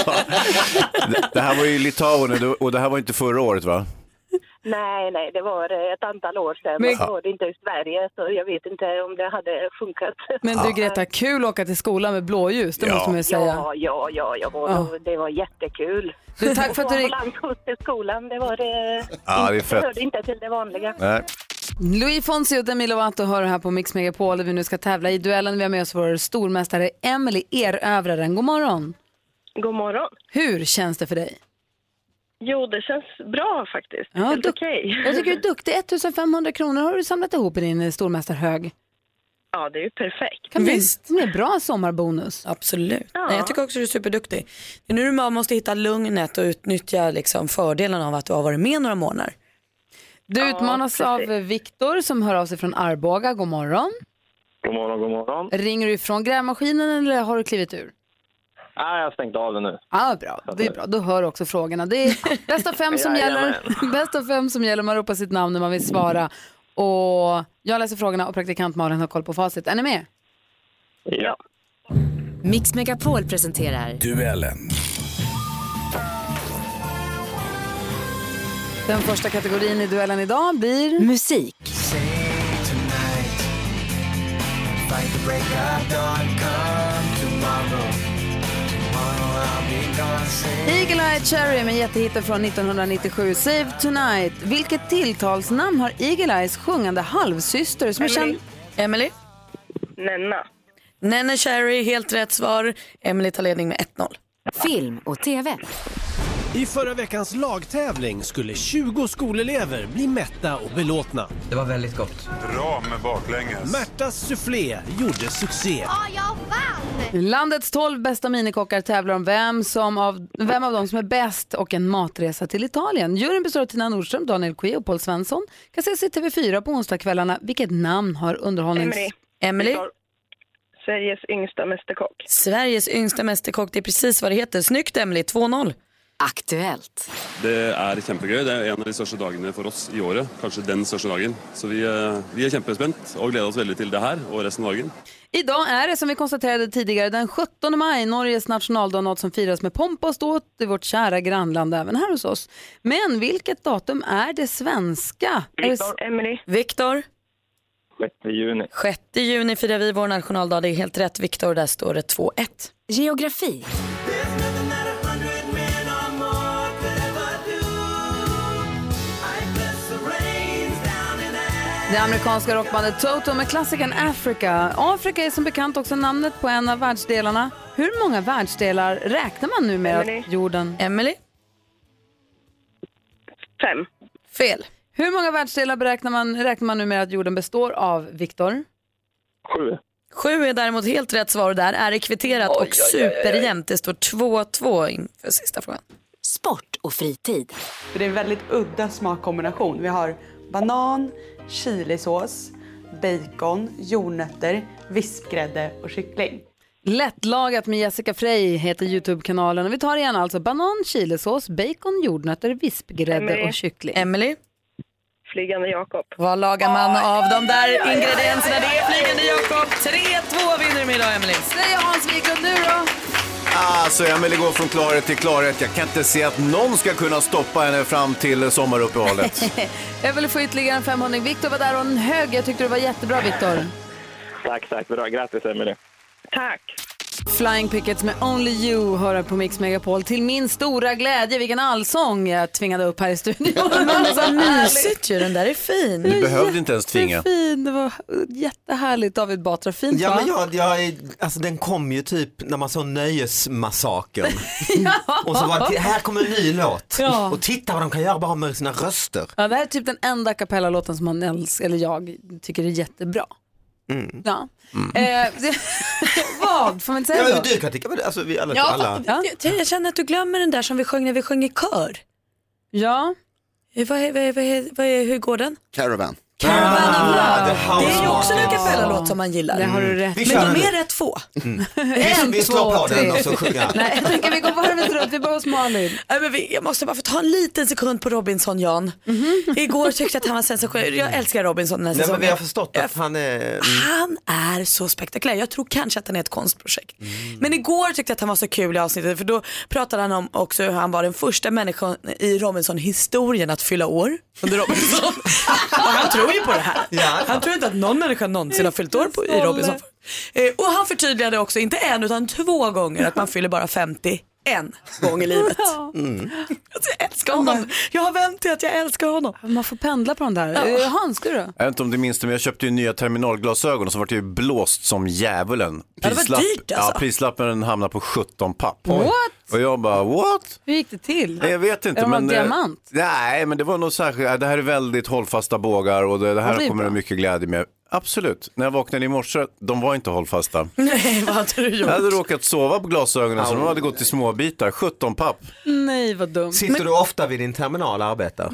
E: Det- Det här var ju Litauen och det- och det här var inte förra året va?
T: Nej, nej, det var eh, ett antal år sedan.
D: Men-
T: Men... Det var det inte i Sverige, så jag vet inte om det hade funkat.
D: Men du Greta, kul att åka till skolan med blåljus, det måste man ju säga.
T: Ja, ja, ja, ja,
D: Ja.
T: det var jättekul.
D: Du, tack för att du
T: Och
D: ring-
T: ambulansskjuts till skolan, det var det...
E: Ja, det är fett.
T: hörde inte till det vanliga.
E: Nej.
D: Louis Fonsi och Demi Lovato hör här på Mix Megapol där vi nu ska tävla i duellen. Vi har med oss vår stormästare Emily Erövraren. God morgon.
U: God morgon.
D: Hur känns det för dig?
U: Jo, det känns bra faktiskt.
D: Ja,
U: Helt
D: du-
U: okej.
D: Jag tycker du är duktig. 1500 kronor har du samlat ihop i din eh, stormästarhög.
U: Ja, det är ju perfekt.
D: Kan Visst. bli en bra sommarbonus.
H: Absolut. Nej, jag tycker också du är superduktig. Det är nu du bara måste hitta lugnet och utnyttja liksom fördelen av att du har varit med några månader.
D: Du utmanas av eh, Viktor som hör av sig från Arboga. God morgon.
V: God morgon, god morgon.
D: Ringer du ifrån grävmaskinen eller har du klivit ur?
V: Nej, jag har stängt av den nu.
D: Ja, bra. Det är bra. Då hör du också frågorna. Det är bästa fem som gäller. Bästa fem som gäller. Man ropar sitt namn när man vill svara. Och jag läser frågorna och praktikant Malin har koll på facit. Är ni med?
V: Ja.
M: Mix Megapol presenterar
W: Duellen.
D: Den första kategorin i duellen idag blir musik.
G: Tonight, fight the break of dawn, come tomorrow. Tomorrow I'll be gone, say.
D: Eagle Eye Cherry med jättehitten från 1997, Save Tonight. Vilket tilltalsnamn har Eagle Eyes sjungande halvsyster som är känd?
H: Emily.
U: Nenna.
H: Nenne Cherry, helt rätt svar. Emily tar ledning med 1-0.
M: film och tv.
B: I förra veckans lagtävling skulle 20 skolelever bli mätta och belåtna. Det var väldigt gott.
C: Bra med baklänges.
B: Märtas soufflé gjorde succé.
D: Landets 12 bästa minikockar tävlar om vem, som av, vem av dem som är bäst och en matresa till Italien. Juryn består av Tina Nordström, Daniel Kui och Paul Svensson. Kan ses i TV4 på onsdagskvällarna. Vilket namn har underhållnings...
U: Emily.
D: Emily.
U: Sveriges yngsta mästerkock.
H: Sveriges yngsta mästerkock, det är precis vad det heter. Snyggt Emily, 2-0.
M: Aktuellt.
W: Det er kjempegøy. Det er en av de største dagene for oss i året. Kanskje den største dagen. Så vi, eh, vi er kjempespent og gleder oss veldig til det her og resten av dagen.
D: Idag är det som vi konstaterade tidigare den 17 maj, Norges nationaldag, något som firas med pompa och ståt i vårt kära grannland, även här hos oss. Men vilket datum är det svenska?
H: Viktor.
D: Emily.
H: Viktor.
V: 6 juni.
H: 6 juni firar vi vår nationaldag. Det är helt rätt Viktor, där står det 2-1.
M: Geografi.
D: Det amerikanska rockbandet Toto med klassikern Africa. Afrika är som bekant också namnet på en av världsdelarna. Hur många världsdelar räknar man nu med
U: Emily.
D: att jorden...
H: Emily.
D: Fem. Fel. Hur många världsdelar beräknar man, räknar man nu med att jorden består av, Viktor?
V: Sju.
H: Sju är däremot helt rätt svar och där är det kvitterat och superjämnt. Det står 2-2 inför sista frågan.
M: Sport och fritid.
X: För det är en väldigt udda smakkombination. Vi har banan, chilisås, bacon, jordnötter, vispgrädde och kyckling.
D: Lättlagat med Jessica Frey heter Youtube-kanalen. Och vi tar igen alltså banan, chilisås, bacon, jordnötter, vispgrädde
H: Emily.
D: och kyckling.
H: Emily.
U: Flygande Jakob.
H: Vad lagar man av de där
D: aj, aj,
H: ingredienserna?
D: aj,
H: Det är
D: aj,
H: Flygande
D: aj,
H: Jakob. 3-2 vinner du med idag Emily.
D: Säger Hans Wiklund nu då?
E: Ah, så Emelie går från klarhet till klarhet. Jag kan inte se att någon ska kunna stoppa henne fram till sommaruppehållet.
D: Jag ville få ytterligare en 500. Viktor var där och en hög. Jag tyckte det var jättebra Viktor.
V: Tack, tack. Bra. Grattis, Emelie.
D: Tack. Flying Pickets med Only You hör jag på Mix Megapol. Till min stora glädje, vilken allsång jag tvingade upp här i studion.
H: Men vad mysigt
D: ju, den där är fin.
E: Du behövde inte ens tvinga.
D: Fin, det var jättehärligt. David Batra, fint
Y: Ja,
D: va?
Y: men jag, jag, är- alltså, den kom ju typ när man såg Nöjesmassakern. Och så var det, här kommer en ny låt.
D: Ja.
Y: Och titta vad de kan göra bara med sina röster.
D: Ja, det här är typ den enda a cappella-låten som man älskar, eller jag tycker är jättebra.
Y: Mm.
D: Ja.
Y: Mm.
D: Eh, vad? Får man inte
Y: Ja,
D: säga
Y: men
D: så?
Y: du kan tycka, men alltså, vi alla, alla.
H: Jag, jag känner att du glömmer den där som vi sjöng när vi sjöng i kör.
D: Ja.
H: Vad, är- vad, är- vad, är- vad, är- hur går den?
F: Caravan.
H: Caravan of Love.
F: Ah,
H: det är ju också en a
F: House
H: cappella-låt som man gillar.
F: Det har du rätt. Vi
H: Men
F: kör den
H: de är
F: nu.
H: rätt få.
D: En,
H: Mm. vi slår
D: två,
H: på den
D: tre.
H: och så sjunger
D: Nej, jag tänker vi går varvet runt. Vi börjar hos Malin.
H: Nej, men vi, jag måste bara få ta en liten sekund på Robinson Jan. Igår tyckte jag att han var sensationell. Jag älskar Robinson den här
Y: Nej, men
H: säsongen.
Y: vi har förstått att han är... Mm.
H: Han är så spektakulär. Jag tror kanske att han är ett konstprojekt. Men igår tyckte jag att han var så kul i avsnittet för då pratade han om också hur han var den första människan i Robinson-historien att fylla år under Robinson. och han tror ju på det här. Han tror inte att någon människa någonsin har fyllt år på, i Robinson. Eh, och han förtydligade också, inte en utan två gånger, att man fyller bara 50 en gång i livet. Alltså,
Y: Mm.
H: Jag älskar honom. Jag har vänt till att jag älskar honom.
D: Man får pendla på den där.
H: Ja.
D: Eh, Hans, du då?
E: Jag vet inte om du minns det, men jag köpte ju nya terminalglasögon och så vart det ju blåst som djävulen.
D: Ja, det var dyrt, alltså.
E: ja, prislappen hamnade på 17 papp.
D: What?
E: Och jag bara, what?
D: Hur gick det till?
E: Nej, Jag vet inte.
D: Är de av
E: men, eh,
D: diamant?
E: Nej, men det var nog särskilt, ja, det här är väldigt hållfasta bågar och det, det
D: Ja,
E: här
D: det är
E: kommer
D: bra.
E: det mycket glädje med. Absolut, när jag vaknade i morse, de var inte hållfasta.
H: Nej, vad hade du
E: Jag
H: gjort?
E: hade råkat sova på glasögonen så de hade gått i små bitar, 17 papp.
D: Nej, vad dumt.
Y: Sitter
D: Men-
Y: du ofta vid din terminal och arbetar?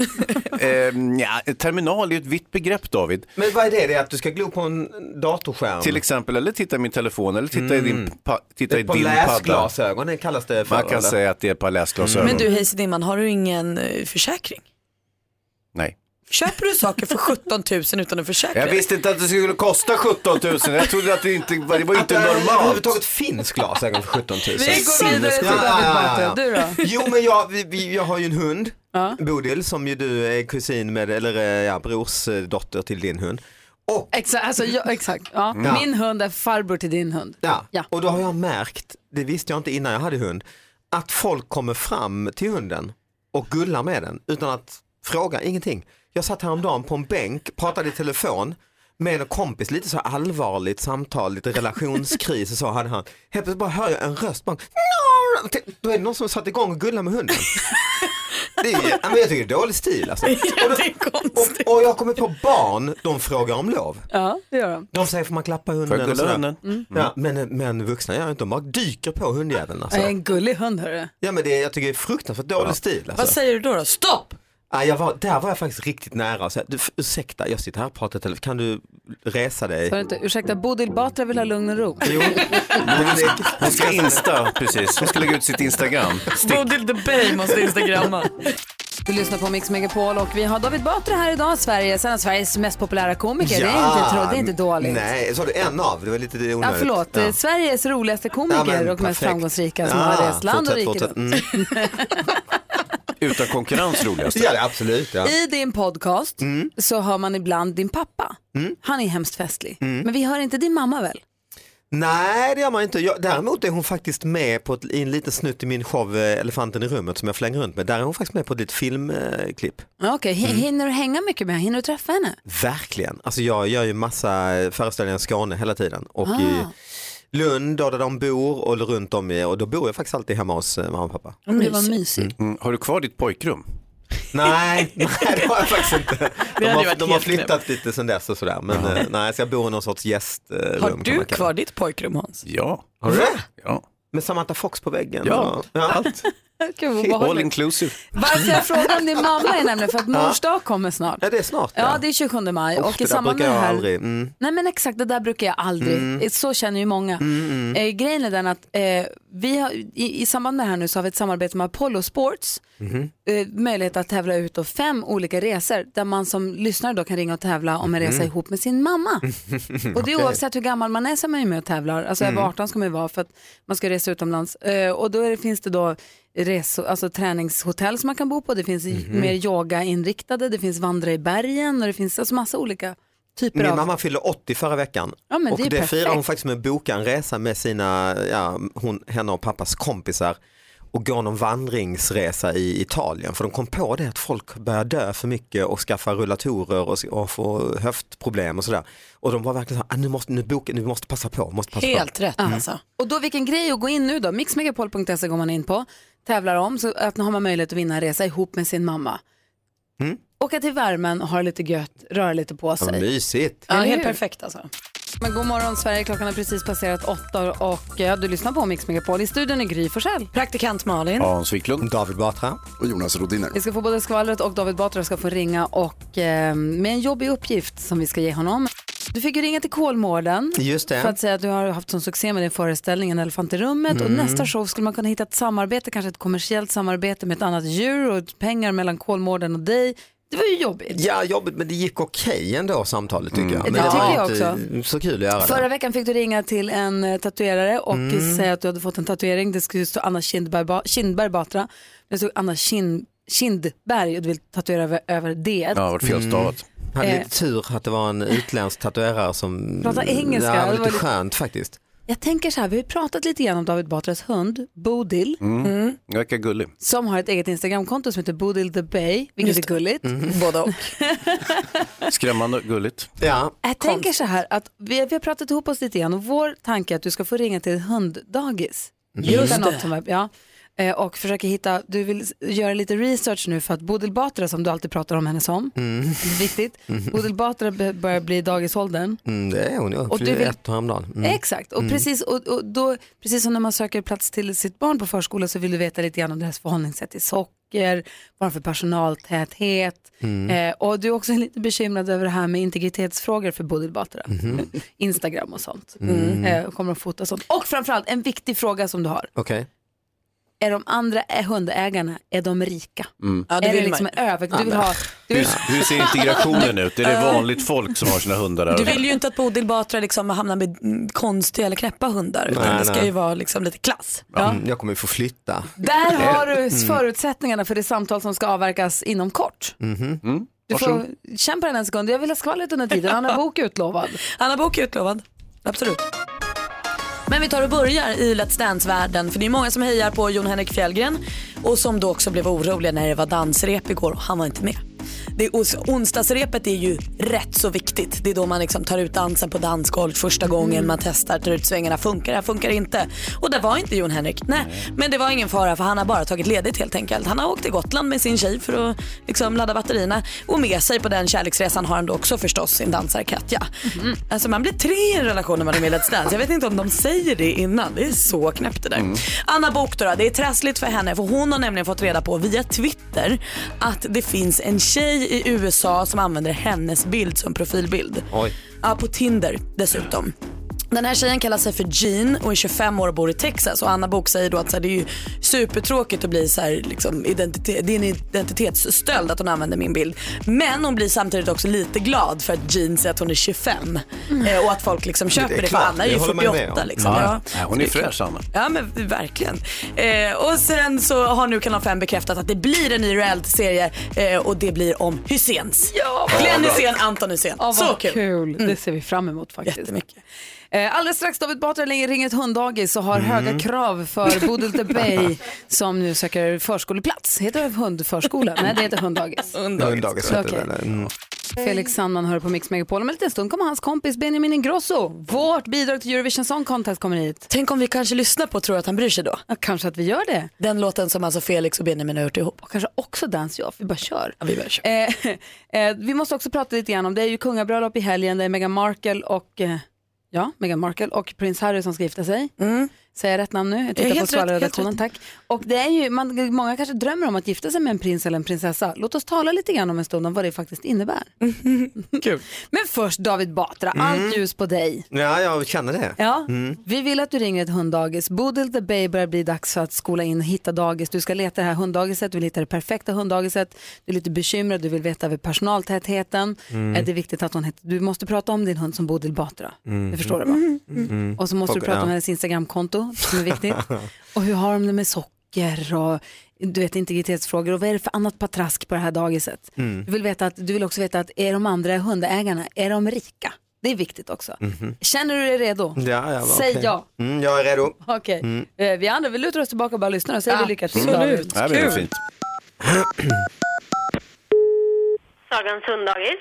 E: Ehm, ja, terminal är ju ett vitt begrepp David.
Y: Men vad är det? Det är att du ska glo på en datorskärm?
E: Till exempel, eller titta i min telefon eller titta i din, pa- titta i
Y: på
E: din padda.
Y: läsglasögon det kallas det för.
E: Man kan
Y: eller?
E: säga att det är ett par läsglasögon.
H: Mm. Men du Hayes Dimman, har du ingen eh, försäkring?
E: Nej.
H: Köper du saker för 17 000 utan en försäkring?
E: Jag visste inte att det skulle kosta 17 000. Jag trodde att det inte var, det var ju inte normalt.
Y: överhuvudtaget finns glasögon för 17 000.
E: Vi går vidare till David Batra. Du då?
Y: Jo men jag, vi, vi, jag har ju en hund, Bodil, som ju du är kusin med, eller eh, ja, brorsdotter till din hund. Och,
D: exakt, alltså, jag, exakt. Ja.
Y: Ja.
D: Min hund är farbror till din hund.
Y: Ja. Och då har jag märkt, det visste jag inte innan jag hade hund, att folk kommer fram till hunden och gullar med den utan att fråga, ingenting. Jag satt häromdagen på en bänk, pratade i telefon med en kompis, lite så allvarligt samtal, lite relationskris och så hade han. Helt plötsligt bara hör jag en röst, bara, "Narr!" då är det någon som satt igång och gullade med hunden. Det är, ja, men jag tycker det är dålig stil alltså. Och, då, och, och jag kommer på barn, de frågar om lov.
D: Ja, det gör de.
Y: De säger får man klappa hunden?
D: Får jag
Y: och
D: gulla
Y: sådär.
D: hunden? Mm.
Y: Ja, men, men vuxna gör inte, de bara dyker på hundjäveln alltså.
D: Alltså. En gullig hund hörru.
Y: Ja men det, jag tycker det är fruktansvärt dålig stil alltså.
H: Vad säger du då? då? Stopp!
Y: Ja, jag var, där var jag faktiskt riktigt nära och sa, du, ursäkta jag sitter här och pratar i telefon, kan du resa dig?
D: Sa du inte, ursäkta, Bodil Batra vill ha lugn och ro.
E: Hon ska insta, precis. Hon ska lägga ut sitt Instagram.
H: Bodil the Bay måste instagramma.
D: Du lyssnar på Mix Megapol och vi har David Batra här idag, Sverige, sen av Sveriges mest populära komiker. Det, är inte, tro- det är inte dåligt.
Y: Nej, sa du en av? Det var lite onödigt.
D: Ja, förlåt. Eh, Sveriges roligaste
Y: Ja,
D: komiker
Y: men
D: och mest
Y: perfekt.
D: framgångsrika som
Y: Ja,
D: har rest land och
Y: fortsätt,
D: rike
Y: fortsätt.
D: runt.
Y: Mm.
E: Utan konkurrens roligast.
Y: Ja, det är absolut. Ja. Mm.
D: I din podcast så hör man ibland din pappa. Han är hemskt festlig.
Y: Mm.
D: Men vi hör inte din mamma väl?
Y: Nej, det gör man inte. Jag, däremot är hon faktiskt med på ett, i en liten snutt i min show eh, Elefanten i rummet som jag flänger runt med. Där är hon faktiskt med på ett litet filmklipp.
D: Ja, Okej,
Y: Mm.
D: H- hinner du hänga mycket med henne? Hinner du träffa henne?
Y: Verkligen. Alltså jag gör ju massa eh, föreställningar i Skåne hela tiden och i
D: Ah.
Y: Lund och där de bor och runt om i, och då bor jag faktiskt alltid hemma hos eh, mamma och pappa.
D: Men det var mysigt.
E: Mm. Har du kvar ditt pojkrum?
Y: Nej, nej, det har jag faktiskt inte.
H: hade
Y: De
H: ju
Y: har,
H: varit
Y: de har
H: helt
Y: flyttat lite sedan dess och sådär. Men eh, nej, så jag bor i någon sorts gästrum.
H: Har
Y: kan man
H: du
Y: kalla
H: kvar ditt pojkrum Hans?
Y: det. Ja. Har du det? Ja. Med Samantha Fox på väggen?
E: Ja,
Y: och, ja. allt.
D: Gud, vad obehagligt.
E: inclusive.
D: Varför jag frågar om din mamma är nämligen för att
Y: Ja.
D: mors dag kommer snart.
Y: Ja, det är snart.
D: Ja, det är 27 maj.
Y: Uff,
D: och i
Y: det där
D: samband
Y: brukar
D: med det
Y: jag
D: här...
Y: aldrig. Mm.
D: Nej men exakt, det där brukar jag aldrig. eh,
Y: Mm.
D: Så känner ju många.
Y: Mm, mm.
D: Eh, grejen är den att eh, vi har, i, i samband med det här nu så har vi ett samarbete med Apollo Sports.
Y: Mhm.
D: Eh, möjlighet att tävla ut då fem olika resor där man som lyssnare då kan ringa och tävla om en
Y: Mhm.
D: resa ihop med sin mamma. Och det är
Y: Mm, Okej.
D: oavsett hur gammal man är som är man ju med och tävlar. Alltså över
Y: Mm.
D: 18 ska man ju vara för att man ska resa utomlands. Eh, och då är det, finns det då resor, alltså träningshotell som man kan bo på. Det finns
Y: Mhm.
D: mer yogainriktade, det finns vandra i bergen och det finns alltså massa olika typer
Y: Min
D: av...
Y: mamma fyllde 80 förra veckan
D: Ja, men
Y: och
D: det är
Y: det, firar hon
D: perfekt.
Y: faktiskt med att boka en resa med sina, ja, hon, henne och pappas kompisar och gå någon vandringsresa i Italien för de kom på det att folk börjar dö för mycket och skaffa rullatorer och, och få höftproblem och sådär. Och de var verkligen så här, "Ah, nu måste, nu, boka, nu måste passa på, måste passa
D: Helt
Y: på.
D: rätt, alltså. Och då vilken grej att gå in nu då, mixmegapol.se E går man in på, tävlar om, så att nu har man möjlighet att vinna en resa ihop med sin mamma.
Y: Mm.
D: Åka till värmen, ha det lite gött, röra lite på
Y: Vad
D: sig.
Y: mysigt.
D: Eller
H: helt
D: hur?
H: perfekt alltså.
D: Men god morgon Sverige, klockan har precis passerat åtta och eh, du lyssnar på Mix Megapol. I studion är Gry Forssell.
H: Praktikant Malin.
E: Hans Wiklund.
Y: David Batra.
F: Och Jonas Rodiner.
D: Vi ska få både skvallret och David Batra ska få ringa och eh, med en jobbig uppgift som vi ska ge honom. Du fick ju ringa till Kolmården
Y: Just det.
D: för att säga att du har haft sån succé med din föreställning En elefant i rummet och
Y: Mm.
D: nästa show skulle man kunna hitta ett samarbete, kanske ett kommersiellt samarbete med ett annat djur och pengar mellan Kolmården och dig. Det var ju jobbigt.
Y: Ja, jobbigt men det gick okej ändå samtalet tycker jag. Men
D: Mm. Det
Y: var
D: tycker jag
Y: inte så kul att göra det.
D: Förra veckan fick du ringa till en eh, tatuerare och
Y: Mm.
D: säga att du hade fått en tatuering. Det skulle stå Anna Kindberg, ba- Kindberg Batra. Men Det stod Anna Kind, Kindberg och du vill tatuera över, över D.
Y: Ja, vart felstavat. Mm. Hade
D: Eh.
Y: lite tur att det var en utländsk tatuerare som
D: Prata engelska,
Y: Ja,
D: det
Y: det var
D: var
Y: lite
D: lite-
Y: skönt faktiskt.
D: Jag tänker så här, vi har ju pratat lite grann om David Batras hund, Bodil.
E: Mm.
D: Mm.
E: Verkar gullig.
D: Som har ett eget Instagramkonto som heter Bodil the Bay, vilket är gulligt.
E: Mm.
H: Både och.
E: Skrämmande gulligt.
Y: Ja.
D: Jag tänker så här att vi, vi har pratat ihop oss lite grann och vår tanke är att du ska få ringa till ett hunddagis.
H: Just
D: Hitta
H: det.
D: Något som är, ja, Eh, och försöka hitta, du vill s- göra lite research nu för att Bodil Batra som du alltid pratar om henne som,
Y: Mm.
D: det är viktigt,
Y: Mm.
D: Bodil Batra be- börjar bli i dagisåldern.
Y: Mm, det är hon ju,
D: Och
Y: och
D: du
Y: du
D: vill-
Y: ett häromdagen. Mm.
D: Exakt, och,
Y: Mm.
D: precis, och, och då, precis som när man söker plats till sitt barn på förskola så vill du veta lite grann om deras förhållningssätt till socker, vad de har för personaltäthet.
Y: Mm.
D: Eh, och du är också lite bekymrad över det här med integritetsfrågor för Bodil Batra.
Y: Mhm.
D: Instagram och sånt.
Y: Mm.
D: Eh, och kommer att fota sånt. Och framförallt en viktig fråga som du har.
Y: Okej.
D: Är de andra ä- hundägarna, är de rika?
E: Mm.
D: är det liksom en över... Du vill ha... Du
E: Hur,
D: vill...
E: hur ser integrationen ut? Är det vanligt folk som har sina hundar där?
H: Du vill ju inte att Bodil Batra liksom hamnar med mm, konstiga eller knäppa hundar. utan
Y: Nej,
H: det ska
Y: nej.
H: ju vara liksom lite klass.
Y: Mm, jag kommer ju få flytta.
D: Där har du
Y: Mm.
D: förutsättningarna för det samtal som ska avverkas inom kort.
Y: Mhm.
D: Du får kämpa den en sekund. Jag vill ha skvallret under tiden. Anna Bok är utlovad.
H: Anna Bok är utlovad. Absolut. Men vi tar och börjar i Let's Dance-världen för det är många som hejar på Jon Henrik Fjällgren och som då också blev oroliga när det var dansrep igår och han var inte med. det är os- onsdagsrepet är ju rätt så viktigt. Det är då man liksom tar ut dansen på dansgolvet första gången.
Y: Mm.
H: Man testar, tar ut svängarna. Funkar det här? Funkar det inte? Och där var inte Jon Henrik. Nej. Men det var ingen fara för han har bara tagit ledigt helt enkelt. Han har åkt till Gotland med sin tjej för att liksom ladda batterierna. Och med sig på den kärleksresan har han då också förstås sin dansare Katja. Alltså man blir tre i en relation när man är med i Let's Dance. Jag vet inte om de säger det innan. Det är så knäppt det där. Anna Book då, då, det är trassligt för henne för hon har nämligen fått reda på via Twitter att det finns en tjej i USA som använder hennes bild som profilbild.
Y: Oj.
H: Ja, på Tinder dessutom. Den här tjejen kallar sig för Jean och är 25 år och bor i Texas. Och Anna Bok säger då att så här, det är ju supertråkigt att bli så här, liksom, identite- det är en identitetsstöld att hon använder min bild. Men hon blir samtidigt också lite glad för att Jean säger att hon är 25 eh, och att folk liksom köper det, för
E: klart,
H: Anna är ju
E: håller man med
H: 48.
E: om.
H: Liksom. Ja.
E: Nej, hon är fräsch Anna.
H: Ja men verkligen. Eh, och sen så har nu Kanal 5 bekräftat att det blir en ny reality-serie eh, och det blir om Hyséns. Ja, Glenn
D: bra.
H: Hysén, Anton Hysén.
D: Ja,
H: så
D: vad
H: kul. Mm.
D: kul. Det ser vi fram emot faktiskt. Eh, Alldeles strax David Batra lägger- ringer ett hunddagis och har
H: Mm.
D: höga krav för Bodil de Bay som nu söker förskoleplats. Heter det hundförskola? Nej, det heter hunddagis.
Y: Hunddagis heter det
D: Okej.
Y: väl? Mm.
D: Felix Sandman hör på Mix Megapol. Om en liten stund kommer hans kompis Benjamin Ingrosso. Vårt bidrag till Eurovision Song Contest kommer hit.
H: Tänk om vi kanske lyssnar på och tror att han bryr sig då.
D: Ja, kanske att vi gör det.
H: Den låten som alltså Felix och Benjamin har gjort ihop.
D: Och kanske också Dance Off. Vi bara kör.
H: Ja, vi bara kör.
D: Eh, eh, vi måste också prata lite grann om, det är ju kungabröllop i helgen, det är Meghan Markle och eh, Ja, Meghan Markle och prins Harry som ska gifta sig. Säger jag rätt namn nu? Jag
H: Ja,
D: tittar på
H: Mm. helt rätt, helt
D: skvallerredaktionen, tack. Och det är ju, man, många kanske drömmer om att gifta sig med en prins eller en prinsessa. Låt oss tala lite grann om en stund om vad det faktiskt innebär.
H: Kul.
D: Men först David Batra, allt
Y: Mm.
D: ljus på dig.
Y: Ja, jag känner det.
D: Ja,
Y: Mm.
D: vi vill att du ringer ett hunddagis. Bodil the Bay börjar bli dags för att skola in och hitta dagis. Du ska leta det här hunddagiset, du vill hitta det perfekta hunddagiset. Du är lite bekymrad, du vill veta över personaltätheten.
Y: Mm.
D: Eh, Det är viktigt att hon heter, du måste prata om din hund som Bodil Batra.
Y: Mm.
D: Du förstår det va?
Y: Mm.
D: Och så måste du
Y: Och-
D: prata om
Y: ja.
D: hennes Instagramkonto som är viktigt. och hur har de det med socker och du vet integritetsfrågor och vad är det för annat patrask på det här dagiset?
Y: Mm.
D: Du vill, veta att, du vill också veta att är de andra hundägarna, är de rika? Det är viktigt också.
Y: Mhm.
D: Känner du dig redo?
Y: Ja, ja, va,
D: Säg
Y: okej.
D: ja.
Y: Mm, jag är redo.
D: Okej.
Y: Mm.
D: Eh, Vi andra vi lutar oss tillbaka och bara lyssnar och säger vi lycka till.
Y: Mm.
D: David.
Y: Det här blir nog fint.
A: Sagans hunddagis.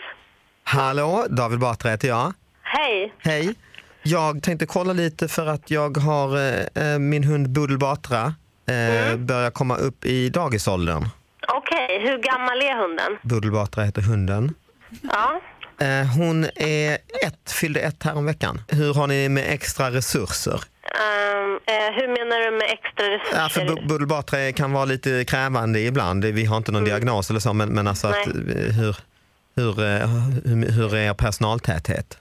Y: Hallå, David Batra heter jag.
A: Hej.
Y: Hej. Jag tänkte kolla lite för att jag har eh, eh, min hund Budel Batra eh, börjar komma upp i dagisåldern.
A: Okej, hur gammal är hunden?
Y: Budel Batra heter hunden.
A: Ja.
Y: Eh, hon är ett, fyllde ett här om veckan. Hur har ni med extra resurser?
A: Ehm, eh, hur menar du med extra
Y: Ja, för
A: resurser?
Y: Bu- Budel Batra kan vara lite krävande ibland. Vi har inte någon diagnos eller så, men, men alltså att, eh, hur, hur, eh, hur, hur är er personaltäthet?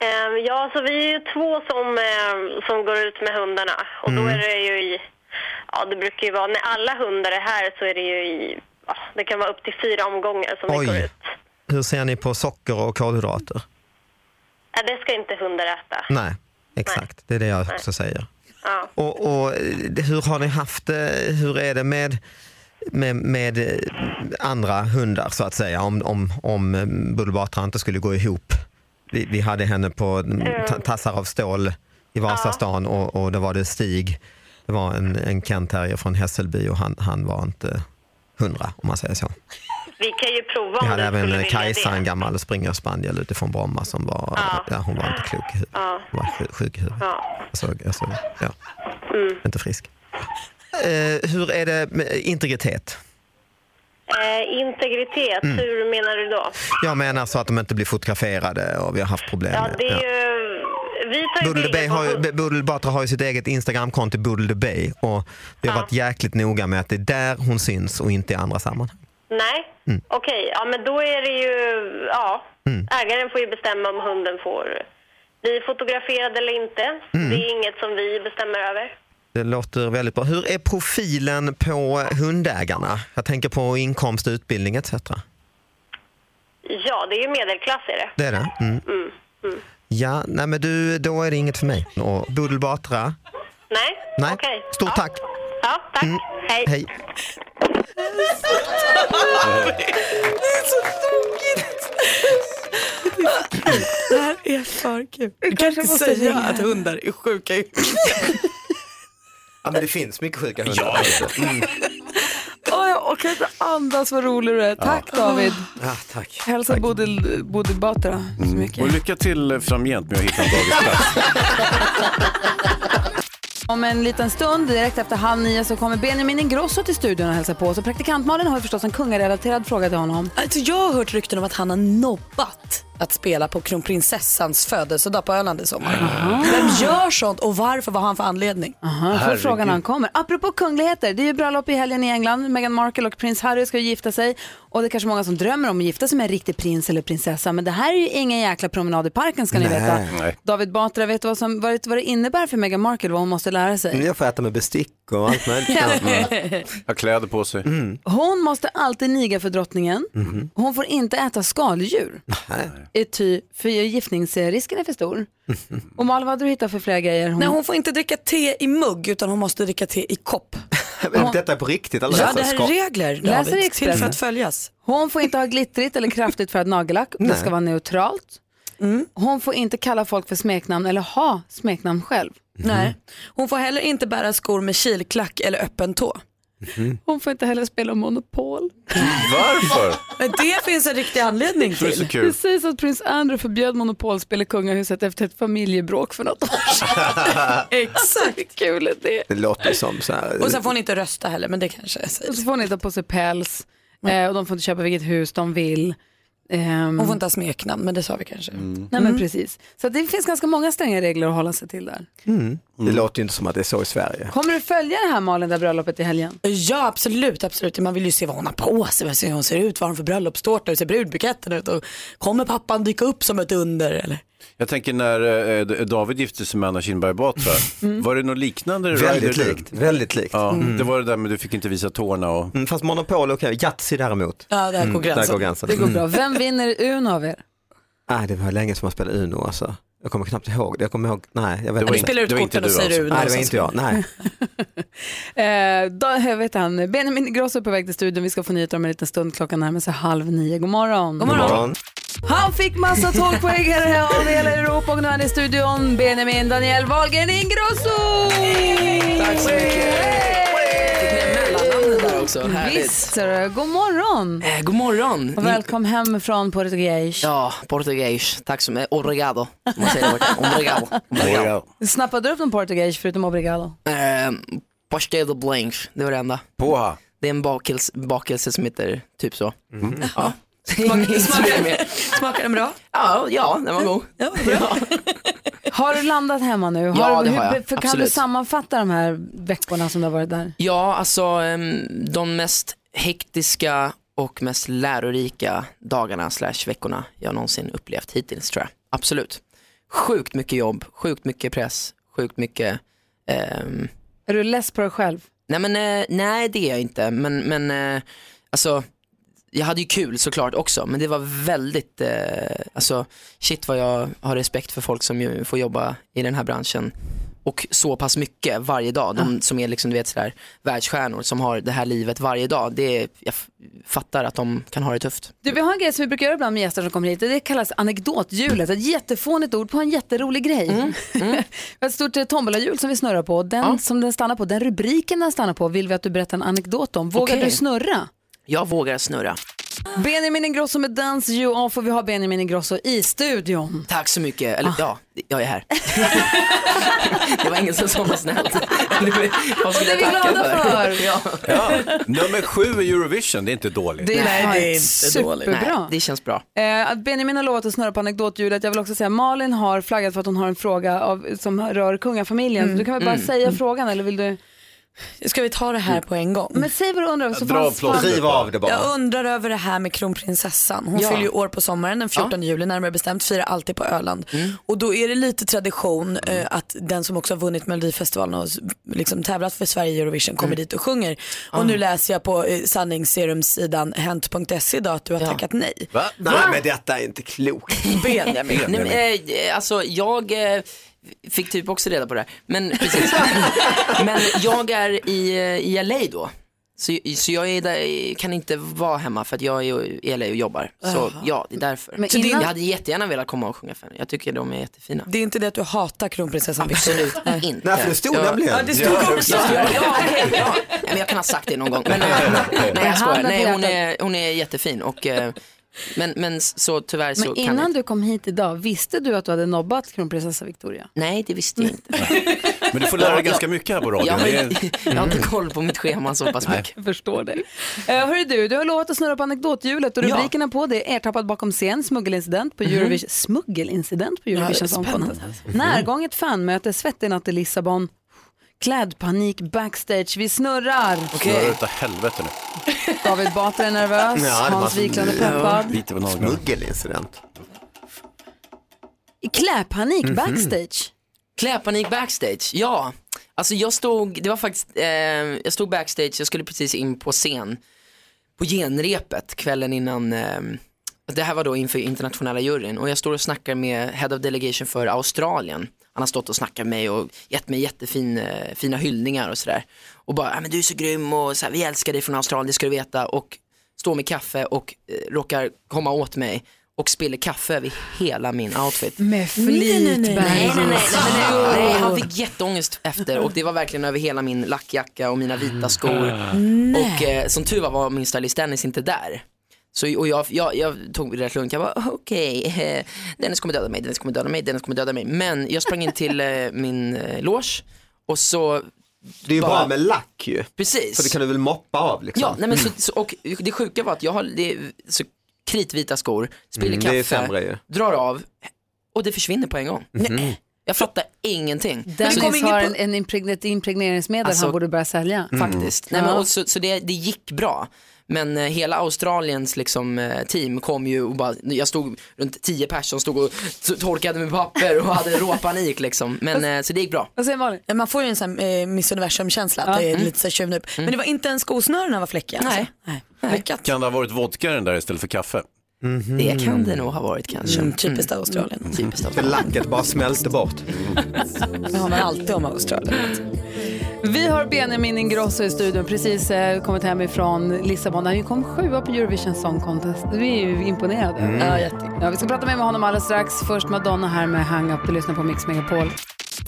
A: Ehm, ja, så vi är ju två som, eh, som går ut med hundarna. Och då
Y: Mm.
A: är det ju i... Ja, det brukar ju vara... När alla hundar är här så är det ju i... Ja, det kan vara upp till fyra omgångar som vi går ut.
Y: Oj, hur ser ni på socker och kolhydrater?
A: Ja, det ska inte hundar äta.
Y: Nej, exakt. Det är det jag också säger.
A: Ja.
Y: Och, och eh, hur har ni haft det? Hur är det med, med, med eh, andra hundar så att säga? Om, om, om eh, Bulbatra inte skulle gå ihop. Vi, vi hade henne på mm, ta- tassar av stål i Vasastan och, och då var det Stig. Det var en, en kentterrier från Hässelby och han, han var inte hundra om man säger så.
A: Vi kan ju prova
Y: Vi
A: om
Y: hade
A: du
Y: även
A: skulle
Y: eh,
A: vilja
Y: Kajsa,
A: det.
Y: en gammal springerspaniel utifrån Bromma som var, ja, hon var inte klok i huvudet.
A: Ja.
Y: Hon var sjuk, sjuk i huvudet.
A: Ja.
Y: Jag såg, jag såg, ja.
A: Mm.
Y: Inte frisk. Eh, hur är det med integritet?
A: Eh, integritet,
Y: Mm.
A: hur menar du då?
Y: Jag menar så att de inte blir fotograferade och vi har haft problem.
A: Ja,
Y: med-
A: det är
Y: ja.
A: ju... Vi tar ju
Y: Budel de Bay
A: bilder på
Y: har ju,
A: hund-
Y: B- Budel Batra har ju sitt eget Instagramkonto Budel de Bay och vi har varit jäkligt noga med att det är där hon syns och inte i andra sammanhang.
A: Nej,
Y: Mm.
A: okej. Ja, men då är det ju... Ja, ägaren får ju bestämma om hunden får bli fotograferad eller inte.
Y: Mm.
A: Det är inget som vi bestämmer över.
Y: Det låter väldigt bra. Hur är profilen på hundägarna? Jag tänker på inkomst, utbildning etc.
A: Ja, det är ju medelklass är det.
Y: Det är det? Mm.
A: Mm. Mm.
Y: Ja, nej men du, då är det inget för mig. Och Budel Batra?
A: Nej,
Y: Nej.
A: okej.
Y: Stort
A: ja.
Y: tack!
A: Ja, tack.
Y: Mm.
A: Hej.
Y: Hej.
H: Det är så tokigt. Det här är för kul. Du kan
Y: kanske
H: inte
Y: måste
H: säga
Y: ringa
H: att
Y: henne.
H: hundar är sjuka i
Y: Ja men det finns mycket sjuka hundar. Ja. Mm.
H: Åh, jag
D: och kan inte andas vad rolig du är. Tack
E: Ja.
D: David.
E: Ja, tack.
D: Hälsa Bodil, Bodil Batra.
E: Mm. Och lycka till framgent med att hitta en dagisplats.
D: Om en liten stund, direkt efter halv nio, så kommer Benjamin Ingrosso till studion och hälsar på oss. Och praktikant Malin har ju förstås en kungarelaterad fråga till honom.
H: Alltså jag har hört rykten om att han har nobbat att spela på kronprinsessans födelsedag på Öland i sommar. Vem gör sånt och varför? Vad har han för anledning?
D: Aha, får frågan när han kommer. Apropå kungligheter, det är ju bröllop i helgen i England. Meghan Markle och prins Harry ska ju gifta sig. Och det är kanske många som drömmer om att gifta sig med en riktig prins eller prinsessa. Men det här är ju ingen jäkla promenad i parken ska ni veta.
Y: Nej.
D: David Batra, vet du vad, som, vad, det- vad det innebär för Meghan Markle, vad hon måste lära sig?
Y: Jag får äta med bestick och allt möjligt.
H: Mm.
Y: Mm.
E: Har kläder på sig.
D: Hon måste alltid niga för drottningen.
E: Mhm.
D: Hon får inte äta skaldjur. Är Ty, för giftningsrisken är för stor. Och Malin, vad hade du hittat för flera grejer?
H: Nej, hon får inte dricka te i mugg utan hon måste dricka te i kopp.
Y: Detta är på riktigt. alla
H: Ja,
Y: dessa
H: det här är
Y: skap-
H: regler
D: Läser i
H: David, till
D: Expressen.
H: för att följas.
D: Hon får inte ha glittrigt eller kraftigt färgad nagellack. Det
H: Nej.
D: ska vara neutralt.
H: Mm.
D: Hon får inte kalla folk för smeknamn eller ha smeknamn själv.
H: Nej. Hon får heller inte bära skor med kilklack eller öppen tå.
D: Hon får inte heller spela Monopol.
E: Varför?
H: Men det finns en riktig anledning
E: Det är så
H: till.
E: kul.
D: Det sägs att prins Andrew förbjöd Monopolspel i kungahuset efter ett familjebråk för något år sedan. Exakt. Hur kul är det?
Y: Det låter som så här.
H: Och sen får hon inte rösta heller men det kanske jag säger.
D: Och så får hon inte ha på sig päls eh, och de får inte köpa vilket hus de vill. Ehm,
H: Hon får inte ha smeknamn men det sa vi kanske.
Y: Mm.
H: Mm.
D: Nej men precis. Så att det finns ganska många stränga regler att hålla sig till där.
Y: Mm. Det låter ju inte som att det är så i Sverige.
D: Kommer du följa det här Malin, det här bröllopet i helgen?
H: Ja absolut, absolut. Man vill ju se vad hon har på sig, vad- hur hon ser ut, vad har hon för bröllopstårta, hur ser brudbuketten ut och kommer pappan dyka upp som ett under eller?
E: Jag tänker när eh, David gifte sig med Anna Kinberg Batra. Var det något liknande?
Y: Mm. Väldigt
E: Ryder?
Y: likt, väldigt likt.
E: Ja,
Y: Mm.
E: Det var det där med du fick inte visa tårna och...
Y: Mm, fast monopol är okej, Yatzy däremot. Mm.
D: Ja, där går gränsen.
Y: Där går gränsen.
D: Det går bra.
Y: Mm.
D: Vem vinner Uno av er?
Y: Nej, det var länge som jag spelade Uno alltså. Jag kommer knappt ihåg det. Jag kommer ihåg, nej. Jag vet
H: Du spelar ut
Y: Det var
H: korten och
E: alltså.
H: säger Uno
Y: Nej,
H: och
Y: det var
H: sen
Y: inte jag. Nej.
D: Eh, då, jag vet han, Benjamin Grosso är på väg till studion. Vi ska få nyheter om en liten stund. Klockan närmar sig halv nio. God morgon.
Y: God morgon.
D: Han fick massa tolvpoängare av hela Europa och nu är han i studion. Benjamin Daniel Wahlgren Ingrosso! Tack så mycket!
C: också.
D: Visst,
C: Härligt.
D: ser du. god morgon!
C: Eh, god morgon.
D: Och välkom hem från Portugais.
C: Ja, portugais. Tack så mycket. Obrigado. Man säger det. Obrigado. Obrigado.
D: Snappade du upp någon Portugais förutom obrigado?
C: Eh, pastel de blanche, det var det enda.
E: Poha.
C: Det är en bakelse, bakelse som heter typ så. Ja.
H: Smakar den bra?
C: Ja, ja, den var god.
D: Har du landat hemma nu? Har
C: Ja,
D: du,
C: det har jag.
D: För, kan
C: Absolut.
D: du sammanfatta de här veckorna som du har varit där?
C: Ja, alltså ehm, de mest hektiska och mest lärorika dagarna slash veckorna jag någonsin upplevt hittills tror jag. Absolut. Sjukt mycket jobb, sjukt mycket press, sjukt mycket... ehm,
D: Är du less på dig själv?
C: Nej, men, eh, nej det är jag inte, men, men eh, alltså, jag hade ju kul såklart också, men det var väldigt, eh, alltså, shit vad jag har respekt för folk som ju får jobba i den här branschen och så pass mycket varje dag.
D: Ah.
C: De som är liksom, du vet, sådär, världsstjärnor som har det här livet varje dag. Det är, jag f- fattar att de kan ha det tufft.
D: Du, vi har en grej som vi brukar göra ibland med gäster som kommer hit och det kallas anekdothjulet. Ett jättefånigt ord på en jätterolig grej.
C: Mm,
D: vi har ett stort eh, tombolahjul som vi snurrar på och den som den stannar på, den rubriken den stannar på vill vi att du berättar en anekdot om. Vågar
C: Okej.
D: du snurra?
C: Jag vågar snurra.
D: Benjamin Ingrosso med Dance You Off och vi har Benjamin Ingrosso i studion.
C: Tack så mycket,
D: Ah.
C: eller ja, jag är här. det var ingen som sa något snällt. Vad skulle
D: Och det är
C: jag
D: vi
C: tacka
D: glada för.
C: ja.
E: Ja, nummer sju i Eurovision, det är inte dåligt.
D: Det är Nej, det är inte dåligt. superbra.
C: Nej, det känns bra.
D: Eh, att Benjamin har lovat att snurra på anekdothjulet. Jag vill också säga Malin har flaggat för att hon har en fråga av, som rör kungafamiljen.
H: Mm.
D: Du kan väl bara
H: Mm.
D: säga frågan eller vill du?
H: Ska vi ta det här på en gång?
D: Men säg vad du undrar. Så
C: Dra
D: får
C: av plåstret
D: fan-
C: Riv av det bara.
H: Jag undrar över det här med kronprinsessan. Hon
C: Ja.
H: fyller ju år på sommaren, den 14 juli närmare bestämt, firar alltid på Öland.
D: Mm.
H: Och då är det lite tradition eh, att den som också har vunnit Melodifestivalen och s- liksom tävlat för Sverige i Eurovision kommer
C: Mm.
H: dit och sjunger. Och
C: Ah.
H: nu läser jag på eh, sanningsserumsidan hent.se E idag att du har tackat nej.
Y: Va? Nej,
H: Va?
Y: men detta är inte klokt.
C: Benjamin. Nej, men, eh, alltså, jag eh, fick typ också reda på det här. Men, precis. men jag är i, eh, i LA då. Så, så jag är där, kan inte vara hemma för att jag är i LA och jobbar. Så
H: Jaha.
C: ja, det är därför.
H: Men
C: så det,
H: innan-
C: jag hade jättegärna velat komma och sjunga för henne. Jag tycker de är jättefina.
H: Det är inte det att du hatar kronprinsessan Victoria?
C: Absolut inte.
H: Nej, för det stod nämligen. Ja, det stod Ja, också. det stod.
C: Ja, okej, ja. Nej, men jag kan ha sagt det någon gång. Men, nej, nej, nej, jag skojar. Nej, hon, är, hon är jättefin. Och, eh, men, men så tyvärr så
D: Men
C: kan jag
D: innan
C: inte.
D: du kom hit idag, visste du att du hade nobbat kronprinsessa Victoria?
C: Nej, det visste jag inte.
E: Men du får lära dig
C: Jag-
E: ganska mycket här på radion.
C: Jag har,
E: Det är-
C: jag har inte koll på mitt schema så pass
E: Nej.
C: mycket.
D: Jag förstår dig. Eh, hörru du, du har lovat att snurra på anekdothjulet och
C: Ja.
D: rubrikerna på det är ertappad bakom scen, smuggelincident på
C: Mhm.
D: Eurovision, smuggelincident på
C: Ja, det är
D: Eurovision Song Contest,
C: spännande. alltså. Mm.
D: närgånget fanmöte, svettig natt i Lissabon, klädpanik backstage, vi snurrar.
E: Snurrar utav helvete nu.
D: David Batra är nervös, Alltså, Hans Wiklund är peppad.
Y: Smuggelincident.
D: Klädpanik
C: Mhm.
D: backstage.
C: Kläpanik backstage, ja. Alltså jag stod, det var faktiskt, eh, jag stod backstage, jag skulle precis in på scen på genrepet kvällen innan, eh, det här var då inför internationella juryn och jag står och snackar med Head of Delegation för Australien. Han har stått och snackat med mig och gett mig jättefina fina hyllningar och sådär. Och bara, "Ja, men du är så grym och så här, vi älskar dig från Australien, det ska du veta. Och står med kaffe och eh, råkar komma åt mig och spiller kaffe över hela min outfit.
D: Med flit,
C: Nej, nej, nej, nej, nej, nej, nej,
D: Bernt.
C: nej, nej, han fick jätteångest efter och det var verkligen över hela min lackjacka och mina vita skor.
D: Nej.
C: Och eh, som tur var var min stylist Dennis inte där. Så, och jag, jag, jag tog det rätt lugnt, jag bara okej, eh, Dennis kommer döda mig, Dennis kommer döda mig, Dennis kommer döda mig. Men jag sprang in till eh, min eh, loge och så
Y: Det är ju
C: Bara-
Y: bra med lack ju.
C: Precis.
Y: För det kan du väl moppa av liksom.
C: Ja, nej men så, så, och det sjuka var att jag har det, så kritvita skor, spiller
Y: Mm, det
C: kaffe,
Y: är sämre ju.
C: drar av och det försvinner på en gång.
Y: Mhm.
C: Nej, jag fattar ingenting. Så det-
D: Dennis har en, en impregne- ett impregneringsmedel
C: Alltså-
D: han borde börja sälja.
C: Faktiskt. Nej, men,
D: Ja.
C: och så så det, det gick bra. Men eh, hela Australiens liksom, eh, team kom ju och bara, jag stod runt 10 personer stod och t- torkade med papper och hade råpanik liksom. Men eh, så det gick bra.
D: Vad säger Malin?
H: Man får ju en sån här eh, Miss Universum-känsla, att
C: Ja.
H: det är
C: Mm.
H: lite så här tjuvnyp. Men
C: Mm.
H: det var inte ens skosnörena var fläckiga. Nej. Alltså. Nej.
E: Kan det ha varit vodka i den där istället för kaffe?
Y: Mhm.
C: Det kan det nog ha varit kanske.
H: Mm, typiskt Australien.
C: Typiskt
Y: För lacket bara smälte bort.
C: alltså.
H: Det har man alltid om Australien.
D: Vi har Benjamin Ingrosso i studion, precis eh, kommit hem ifrån Lissabon. Han kom sjua på Eurovision Song Contest. Vi är ju imponerade.
G: Mm.
D: Ja, jätte- ja, vi ska prata mer med honom alldeles strax. Först Madonna här med Hang Up. Du lyssnar på Mix Megapol.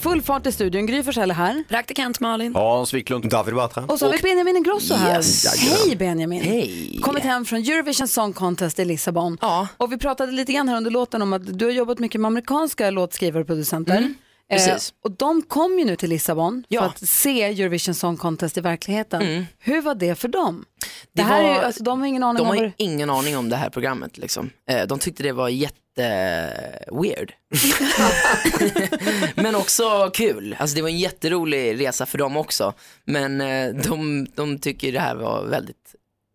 D: Full fart i studion. Gry Forssell är här.
H: Praktikant Malin.
Y: Hans Wiklund. David Batra.
D: Och så har vi Benjamin Ingrosso här.
Y: Yes.
D: Hej Benjamin.
Y: Hej.
D: Kommit hem från Eurovision Song Contest i Lissabon. Och vi pratade lite grann här under låten om att du har jobbat mycket med amerikanska låtskrivare och producenter. Eh,
C: Mm, precis.
D: och de kom ju nu till Lissabon
C: Ja.
D: för att se Eurovision Song Contest i verkligheten.
C: Mm.
D: Hur var det för dem? Det,
C: Det
D: här är ju,
C: var-
D: alltså, de har ingen aning
C: De
D: om
C: har
D: vad
C: ju
D: det...
C: ingen aning om det här programmet liksom. Eh, De tyckte det var jätte eh, weird. Men också kul. Alltså det var en jätterolig resa för dem också. Men eh, de, de tycker det här var väldigt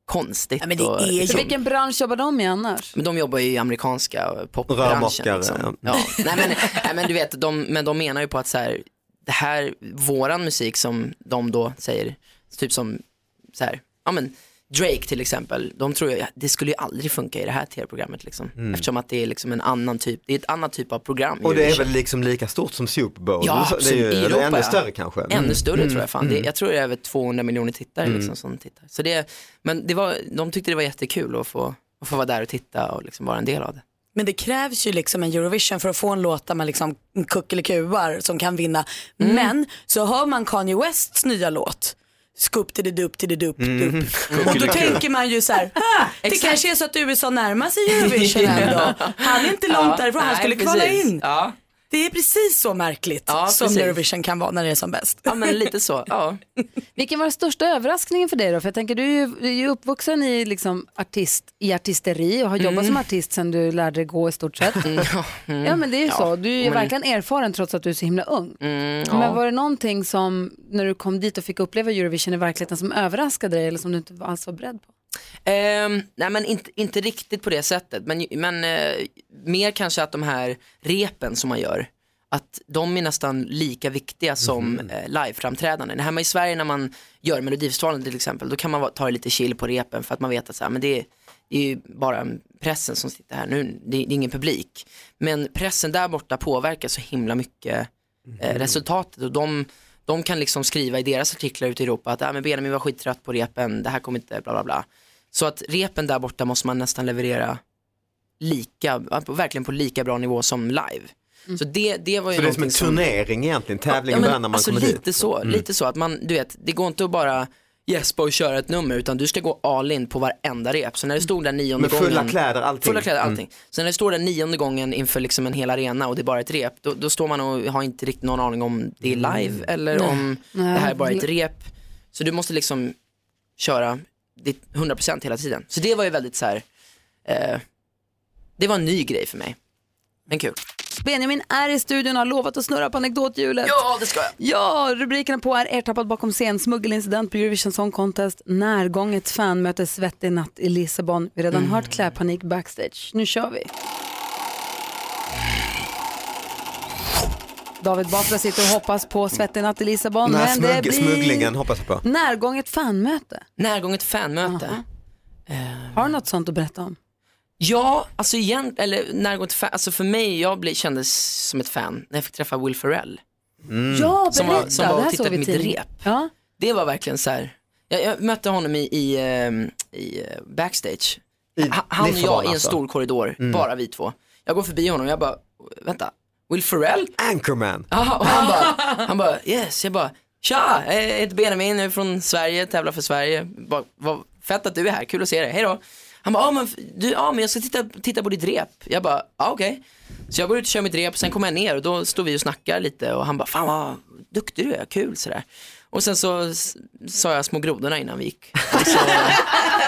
C: konstigt.
D: Men det
C: och,
D: är
C: liksom-
D: Vilken bransch jobbar de i annars?
C: men de jobbar ju i amerikanska popbranschen.
Y: Rörmokare,
C: Liksom. Ja. Nej, men, nej, men du vet, de, men de menar ju på att så här, det här, våran musik som de då säger, typ som så här, ja men Drake till exempel, de tror ju, ja, det skulle ju aldrig funka i det här tv-programmet liksom.
Y: Mm.
C: Eftersom att det är liksom en annan typ, det är ett annat typ av program.
Y: Och det är
C: Eurovision.
Y: väl liksom lika stort som Super Bowl?
C: Ja,
Y: det är ju
C: absolut. I
Y: det är
C: Europa,
Y: ännu
C: ja.
Y: större kanske?
C: Ännu större
Y: Mm.
C: tror jag fan.
Y: Mm.
C: Det, jag tror det är över 200 miljoner tittare
Y: Mm.
C: liksom, som tittar. Så det, men det var, de tyckte det var jättekul att få, att få vara där och titta och liksom vara en del av det.
H: Men det krävs ju liksom en Eurovision för att få en låt där man liksom kuckelikuar som kan vinna.
C: Mm.
H: Men så hör man Kanye Wests nya låt. Scoop till det dupp till det dupp dupp. Och då
G: Kuckeliku.
H: tänker man ju så här, "Ah, det kanske är så att USA närmar sig Eurovision ändå. Han är inte långt
C: Ja,
H: därifrån, han
C: nej,
H: skulle kvala
C: precis.
H: in.
C: Ja.
H: Det är precis så märkligt
C: Ja,
H: som
C: precis.
H: Eurovision kan vara när det är som bäst.
C: Ja men lite så, ja.
D: Vilken var den största överraskningen för dig då? För jag tänker du är ju, du är ju uppvuxen i, liksom, artist, i artisteri och har jobbat
C: Mm.
D: som artist sedan du lärde dig gå i stort sett.
C: Mm.
D: Ja men det är ju
C: Ja,
D: så, du är ju
C: men-
D: verkligen erfaren trots att du är så himla ung.
C: Mm,
D: Men var det någonting som, när du kom dit och fick uppleva Eurovision i verkligheten, som överraskade dig eller som du inte alls var beredd på?
C: Ehm, nej men inte, inte riktigt på det sättet. Men, men eh, mer kanske att de här repen som man gör, att de är nästan lika viktiga som eh, liveframträdanden. Hemma i Sverige när man gör Melodifestivalen till exempel, då kan man va- ta det lite chill på repen för att man vet att så här, men det, är, det är ju bara pressen som sitter här nu, det, det är ingen publik. Men pressen där borta påverkar så himla mycket eh, resultatet och de, de kan liksom skriva i deras artiklar ute i Europa att ah, men Benjamin var skittrött på repen, det här kommer inte, bla bla bla. Så att repen där borta måste man nästan leverera lika, verkligen på lika bra nivå som live. Så det, det var ju
Y: Så det är som en
C: någonting som-
Y: turnering egentligen, tävling
C: men
Y: börjar när man
C: alltså
Y: kommer
C: lite
Y: dit.
C: Så,
Y: Mm.
C: Lite så, att man, du vet, det går inte att bara gäspa och köra ett nummer utan du ska gå all in på varenda rep. Så när det stod där nionde
Y: Med
C: gången.
Y: fulla kläder, allting.
C: Fulla kläder,
Y: Mm.
C: allting. Så när det står där nionde gången inför liksom en hel arena och det är bara ett rep, då, då står man och har inte riktigt någon aning om det är
Y: Mm.
C: live eller
D: Nej.
C: om
D: Nej.
C: det här är bara ett rep. Så du måste liksom köra ditt 100% hela tiden. Så det var ju väldigt så här, eh, det var en ny grej för mig. Men kul.
D: Benjamin är i studion och har lovat att snurra på anekdothjulet.
C: Ja, det ska jag.
D: Ja, rubrikerna på är ertappad bakom scen, smuggelincident på Eurovision Song Contest, närgånget fanmöte, svettig natt i Lissabon. Vi har redan hört klädpanik backstage. Nu kör vi. David Batra sitter och hoppas på svettig natt i Lissabon.
Y: Den här
D: men det
Y: smugg-
D: blir
Y: smugglingen hoppas jag på.
C: Mm.
D: närgånget fanmöte.
C: Närgånget fanmöte.
D: Har du något sånt att berätta om?
C: Ja, alltså igen, eller närgående fan, alltså för mig, jag blev, kändes som ett fan när jag fick träffa Will Ferrell.
Y: Mm.
D: Ja,
C: Som var,
D: berätta.
C: som var
D: det
C: och
D: här
C: tittade
D: såg
C: på
D: vi
C: mitt
D: tidigt.
C: rep.
D: Ja.
C: Det var verkligen så här, jag, jag mötte honom i, i, ehm, i eh, backstage. Ha- han och
Y: Lissabon
C: jag i en
Y: alltså.
C: stor korridor,
Y: Mm.
C: bara vi två. Jag går förbi honom och jag bara, vänta, Will Ferrell?
Y: Anchorman.
C: Ja, och han bara, han bara, yes, jag bara, tja, jag heter Benjamin, jag är från Sverige, tävlar för Sverige, bara, vad fett att du är här, kul att se dig, hej då. Han bara, ja men, du, ja, men jag ska titta, titta på ditt rep. Jag bara, ja okej. Så jag går ut och kör mitt rep, sen kommer jag ner och då står vi och snackar lite och han bara, fan vad duktig du är, kul sådär. Och sen så s- sa jag små grodorna innan vi gick. Och så,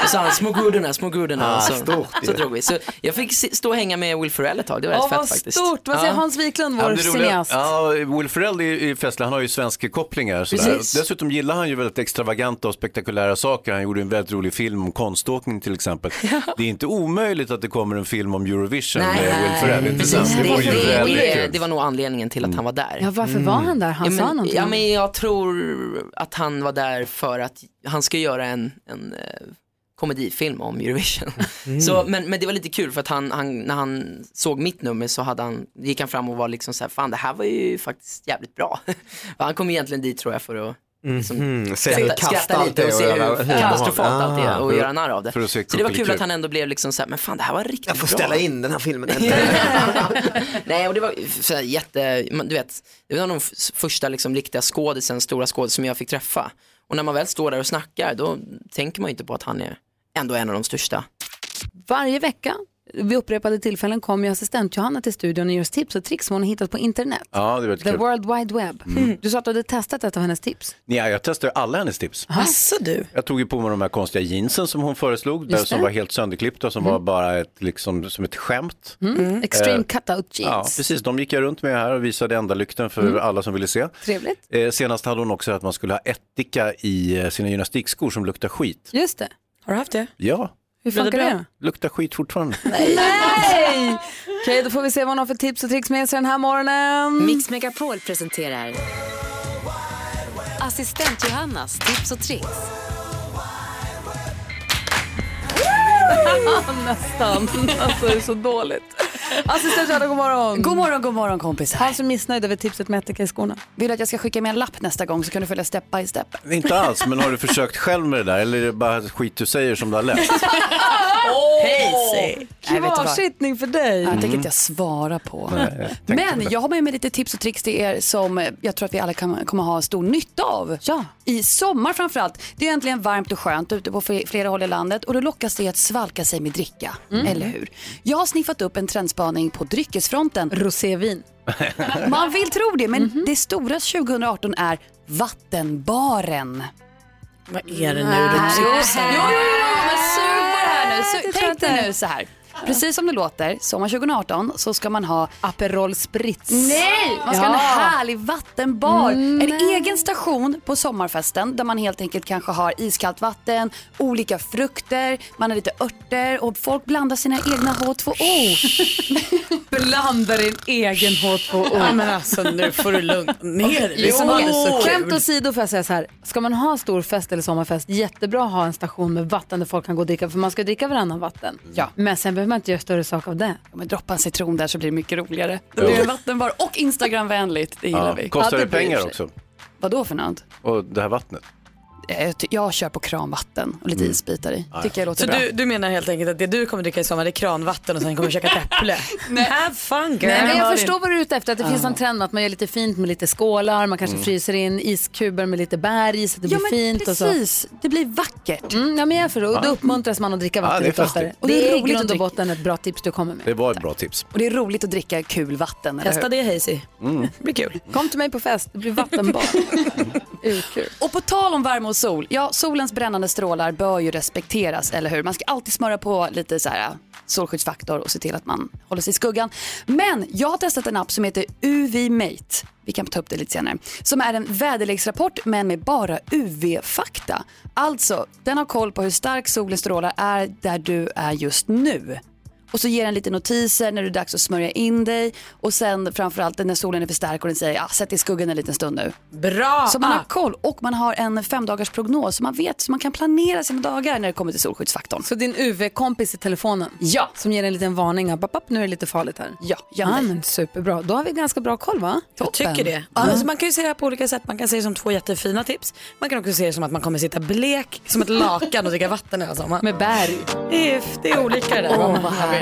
C: och så han, små grodorna, små grodorna.
Y: Ah,
C: och så,
Y: stort ju.
C: så drog vi. Så jag fick se- stå och hänga med Will Ferrell ett tag, det var rätt
D: Åh,
C: fett
D: vad
C: faktiskt.
D: stort. Vad säger Hans Wiklund, vår
E: Ja, men det roliga-
D: cineast?
E: Ja, Will Ferrell i i Fessler, han har ju svenska kopplingar. Sådär.
D: Precis.
E: Dessutom gillar han ju väldigt extravaganta och spektakulära saker. Han gjorde en väldigt rolig film om konståkning till exempel. Det är inte omöjligt att det kommer en film om Eurovision med Will Ferrell, inte sant?
C: Det,
E: vore ju
C: det,
E: väldigt
C: det,
E: kul.
C: det var nog anledningen till att han var där.
D: Ja, varför var han där? Han
C: ja, men,
D: sa någonting.
C: Ja, men jag tror att han var där för att han ska göra en, en eh, komedifilm om Eurovision.
E: Mm.
C: Så, men, men det var lite kul för att han, han, när han såg mitt nummer så hade han, gick han fram och var liksom så här, fan det här var ju faktiskt jävligt bra. Och han kom egentligen dit tror jag för att
H: Mm.
Y: Mhm, se hur
C: skratta,
Y: kasst
C: skratta
Y: allt
C: lite
Y: är
C: och se
Y: göra-
C: hur katastrofalt
Y: Ah,
C: allt är och
Y: för-
C: göra narr av det.
Y: för att se
C: Så det var kul
Y: kuppelkul.
C: att han ändå blev liksom så här, men fan det här var riktigt bra.
Y: Jag får ställa in den här filmen.
C: Nej, och det var så här, jätte, man- du vet, det var nog f- första liksom, riktiga skådisen, stora skådisen som jag fick träffa. Och när man väl står där och snackar, då tänker man ju inte på att han är ändå en av de största.
D: Varje vecka vid upprepade tillfällen kommer ju assistent Johanna till studion och ger oss tips och tricks som hon har hittat på internet.
E: Ja, det var
D: The
E: kul. Mm.
D: World Wide Web. Du sa att du hade testat ett av hennes tips.
E: Nej, jag testade alla hennes tips.
D: Asså
H: du.
E: Jag tog ju på mig de här konstiga jeansen som hon föreslog, där
D: Just
E: som
D: det.
E: var helt sönderklippta, som var bara ett, liksom, som ett skämt.
D: Mm. Extreme
E: Eh,
D: cutout
E: Ja,
D: jeans. Mm.
E: precis. De gick jag runt med här och visade enda lykten för alla som ville se.
D: Trevligt.
E: Eh, senast hade hon också att man skulle ha ättika i eh, sina gymnastikskor som luktar skit.
D: Just det.
H: Har du haft det?
E: Ja,
D: Hur funkar det? då?
E: luktar skit fortfarande.
D: Nej! Okej, då får vi se vad hon har för tips och tricks med sig den här morgonen.
M: Mix Megapol presenterar Assistent Johannas tips och tricks.
D: Nästan. Alltså, det är så dåligt. Assistent Johanna, god morgon.
I: God morgon, god morgon kompisar.
D: Han är så missnöjd över tipset med ättika i skorna.
I: Vill du att jag ska skicka med en lapp nästa gång så kan du följa step by step?
E: Inte alls, men har du försökt själv med det där? Eller är det bara skit du säger som du har läst?
I: Hej, Nej, vet du vad?
D: Kvarsittning för dig.
I: Jag tänker inte jag svara på.
D: Nej, jag tänkte
I: Men
D: det.
I: jag har med mig lite tips och tricks till er som eh, jag tror att vi alla kan, kommer ha stor nytta av. Ja. I sommar framförallt. Det är äntligen varmt och skönt ute på fle- flera håll i landet och då lockas det att svalka sig med dricka.
D: Mm.
I: Eller hur? Jag har sniffat upp en trendspaning på dryckesfronten.
D: Rosévin. Mhm.
I: Man vill tro det, men det stora 2018 är vattenbaren.
H: Vad är det nu du
I: Nej.
H: tipsar
I: Jo, jo, jo, men sug på det här nu.
D: Det tror
I: Sug,
D: jag
I: tänk dig
D: inte.
I: nu så här. Precis som det låter, sommar 2018 så ska man ha
D: Aperol Spritz.
I: Nej! Man ska ha
D: Ja.
I: en härlig vattenbar. En egen station på sommarfesten där man helt enkelt kanske har iskallt vatten, olika frukter, man har lite örter och folk blandar sina egna H2O.
D: Blanda din egen H2O.
I: Ja, men
H: alltså, nu får du lugna ner dig. Det är
D: Jo,
H: som alldeles så kul.
D: skämt åsido får jag säga så här. Ska man ha stor fest eller sommarfest, jättebra att ha en station med vatten där folk kan gå och dricka, för man ska dricka varannan vatten.
I: Ja.
D: Men sen behöver man inte göra större sak av det.
I: Men droppa en citron där så blir det mycket roligare. Då
E: Jo.
I: blir det vattenbar och Instagramvänligt, det gillar vi.
E: Kostar
I: Ja,
E: det
I: blir-
E: pengar också?
I: Vad då för något?
E: Och det här vattnet.
I: Jag, ty- jag kör på kranvatten och lite
E: Mm.
I: isbitar i.
E: Ja, ja.
I: Tycker jag låter
H: Så
I: bra.
H: du, du menar helt enkelt att det du kommer dricka i sommar det är kranvatten och sen kommer du käka ett äpple? Have fun girl!
D: Nej, men jag
H: Malin.
D: förstår vad du är ute efter, att det finns
H: Ja.
D: en trend med att man gör lite fint med lite skålar, man kanske
H: Mm.
D: fryser in iskuber med lite bär i så att det
I: Ja,
D: blir
I: men
D: fint.
I: precis.
D: Och så. Det blir vackert. Mm, ja, men jag förstår. Och då
E: Ja.
D: uppmuntras man att dricka
E: Ja, det är
D: vatten lite
E: festligt.
D: oftare.
I: Och det är
D: Det är i
I: roligt att
D: grund och
I: dricka.
D: botten ett bra tips du kommer med.
E: Det var ett bra tips.
I: Och det är roligt att dricka kul vatten. Eller
H: Testa
I: hur?
H: det Hazy.
E: Mm.
H: Det blir kul.
D: Kom till mig på fest, det blir vattenbad. Mm. Urkul.
I: Och på tal om värme och sol, ja solens brännande strålar bör ju respekteras, eller hur? Man ska alltid smörja på lite så här äh, solskyddsfaktor och se till att man håller sig i skuggan. Men jag har testat en app som heter UV-Mate. Vi kan ta upp det lite senare. Som är en väderleksrapport men med bara UV-fakta. Alltså, den har koll på hur stark solen strålar är där du är just nu. Och så ger den lite notiser när det är dags att smörja in dig och sen framförallt när solen är för stark och den säger ah, sätt dig i skuggan en liten stund nu.
H: Bra
I: Så man har
H: app.
I: koll och man har en femdagars prognos så man vet så man kan planera sina dagar när det kommer till solskyddsfaktorn.
D: Så din UV-kompis i telefonen ja. som ger en liten varning, här, "Bapp, bapp, nu är det lite farligt här.
I: Ja,
D: ja men superbra. Då har vi ganska bra koll va?
H: Jag tycker det. Alltså, man kan ju se det här på olika sätt. Man kan se det som två jättefina tips. Man kan också se det som att man kommer sitta blek som ett lakan och dricka vatten hela sommaren.
D: Med berg.
H: Det är, det är olika det där.
D: Åh,
H: man
D: vad
H: vill.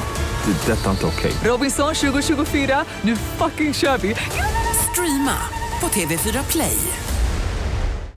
L: Det. är Detta är inte okej.
J: Robinson 2024, nu fucking kör vi! Streama på TV4 Play.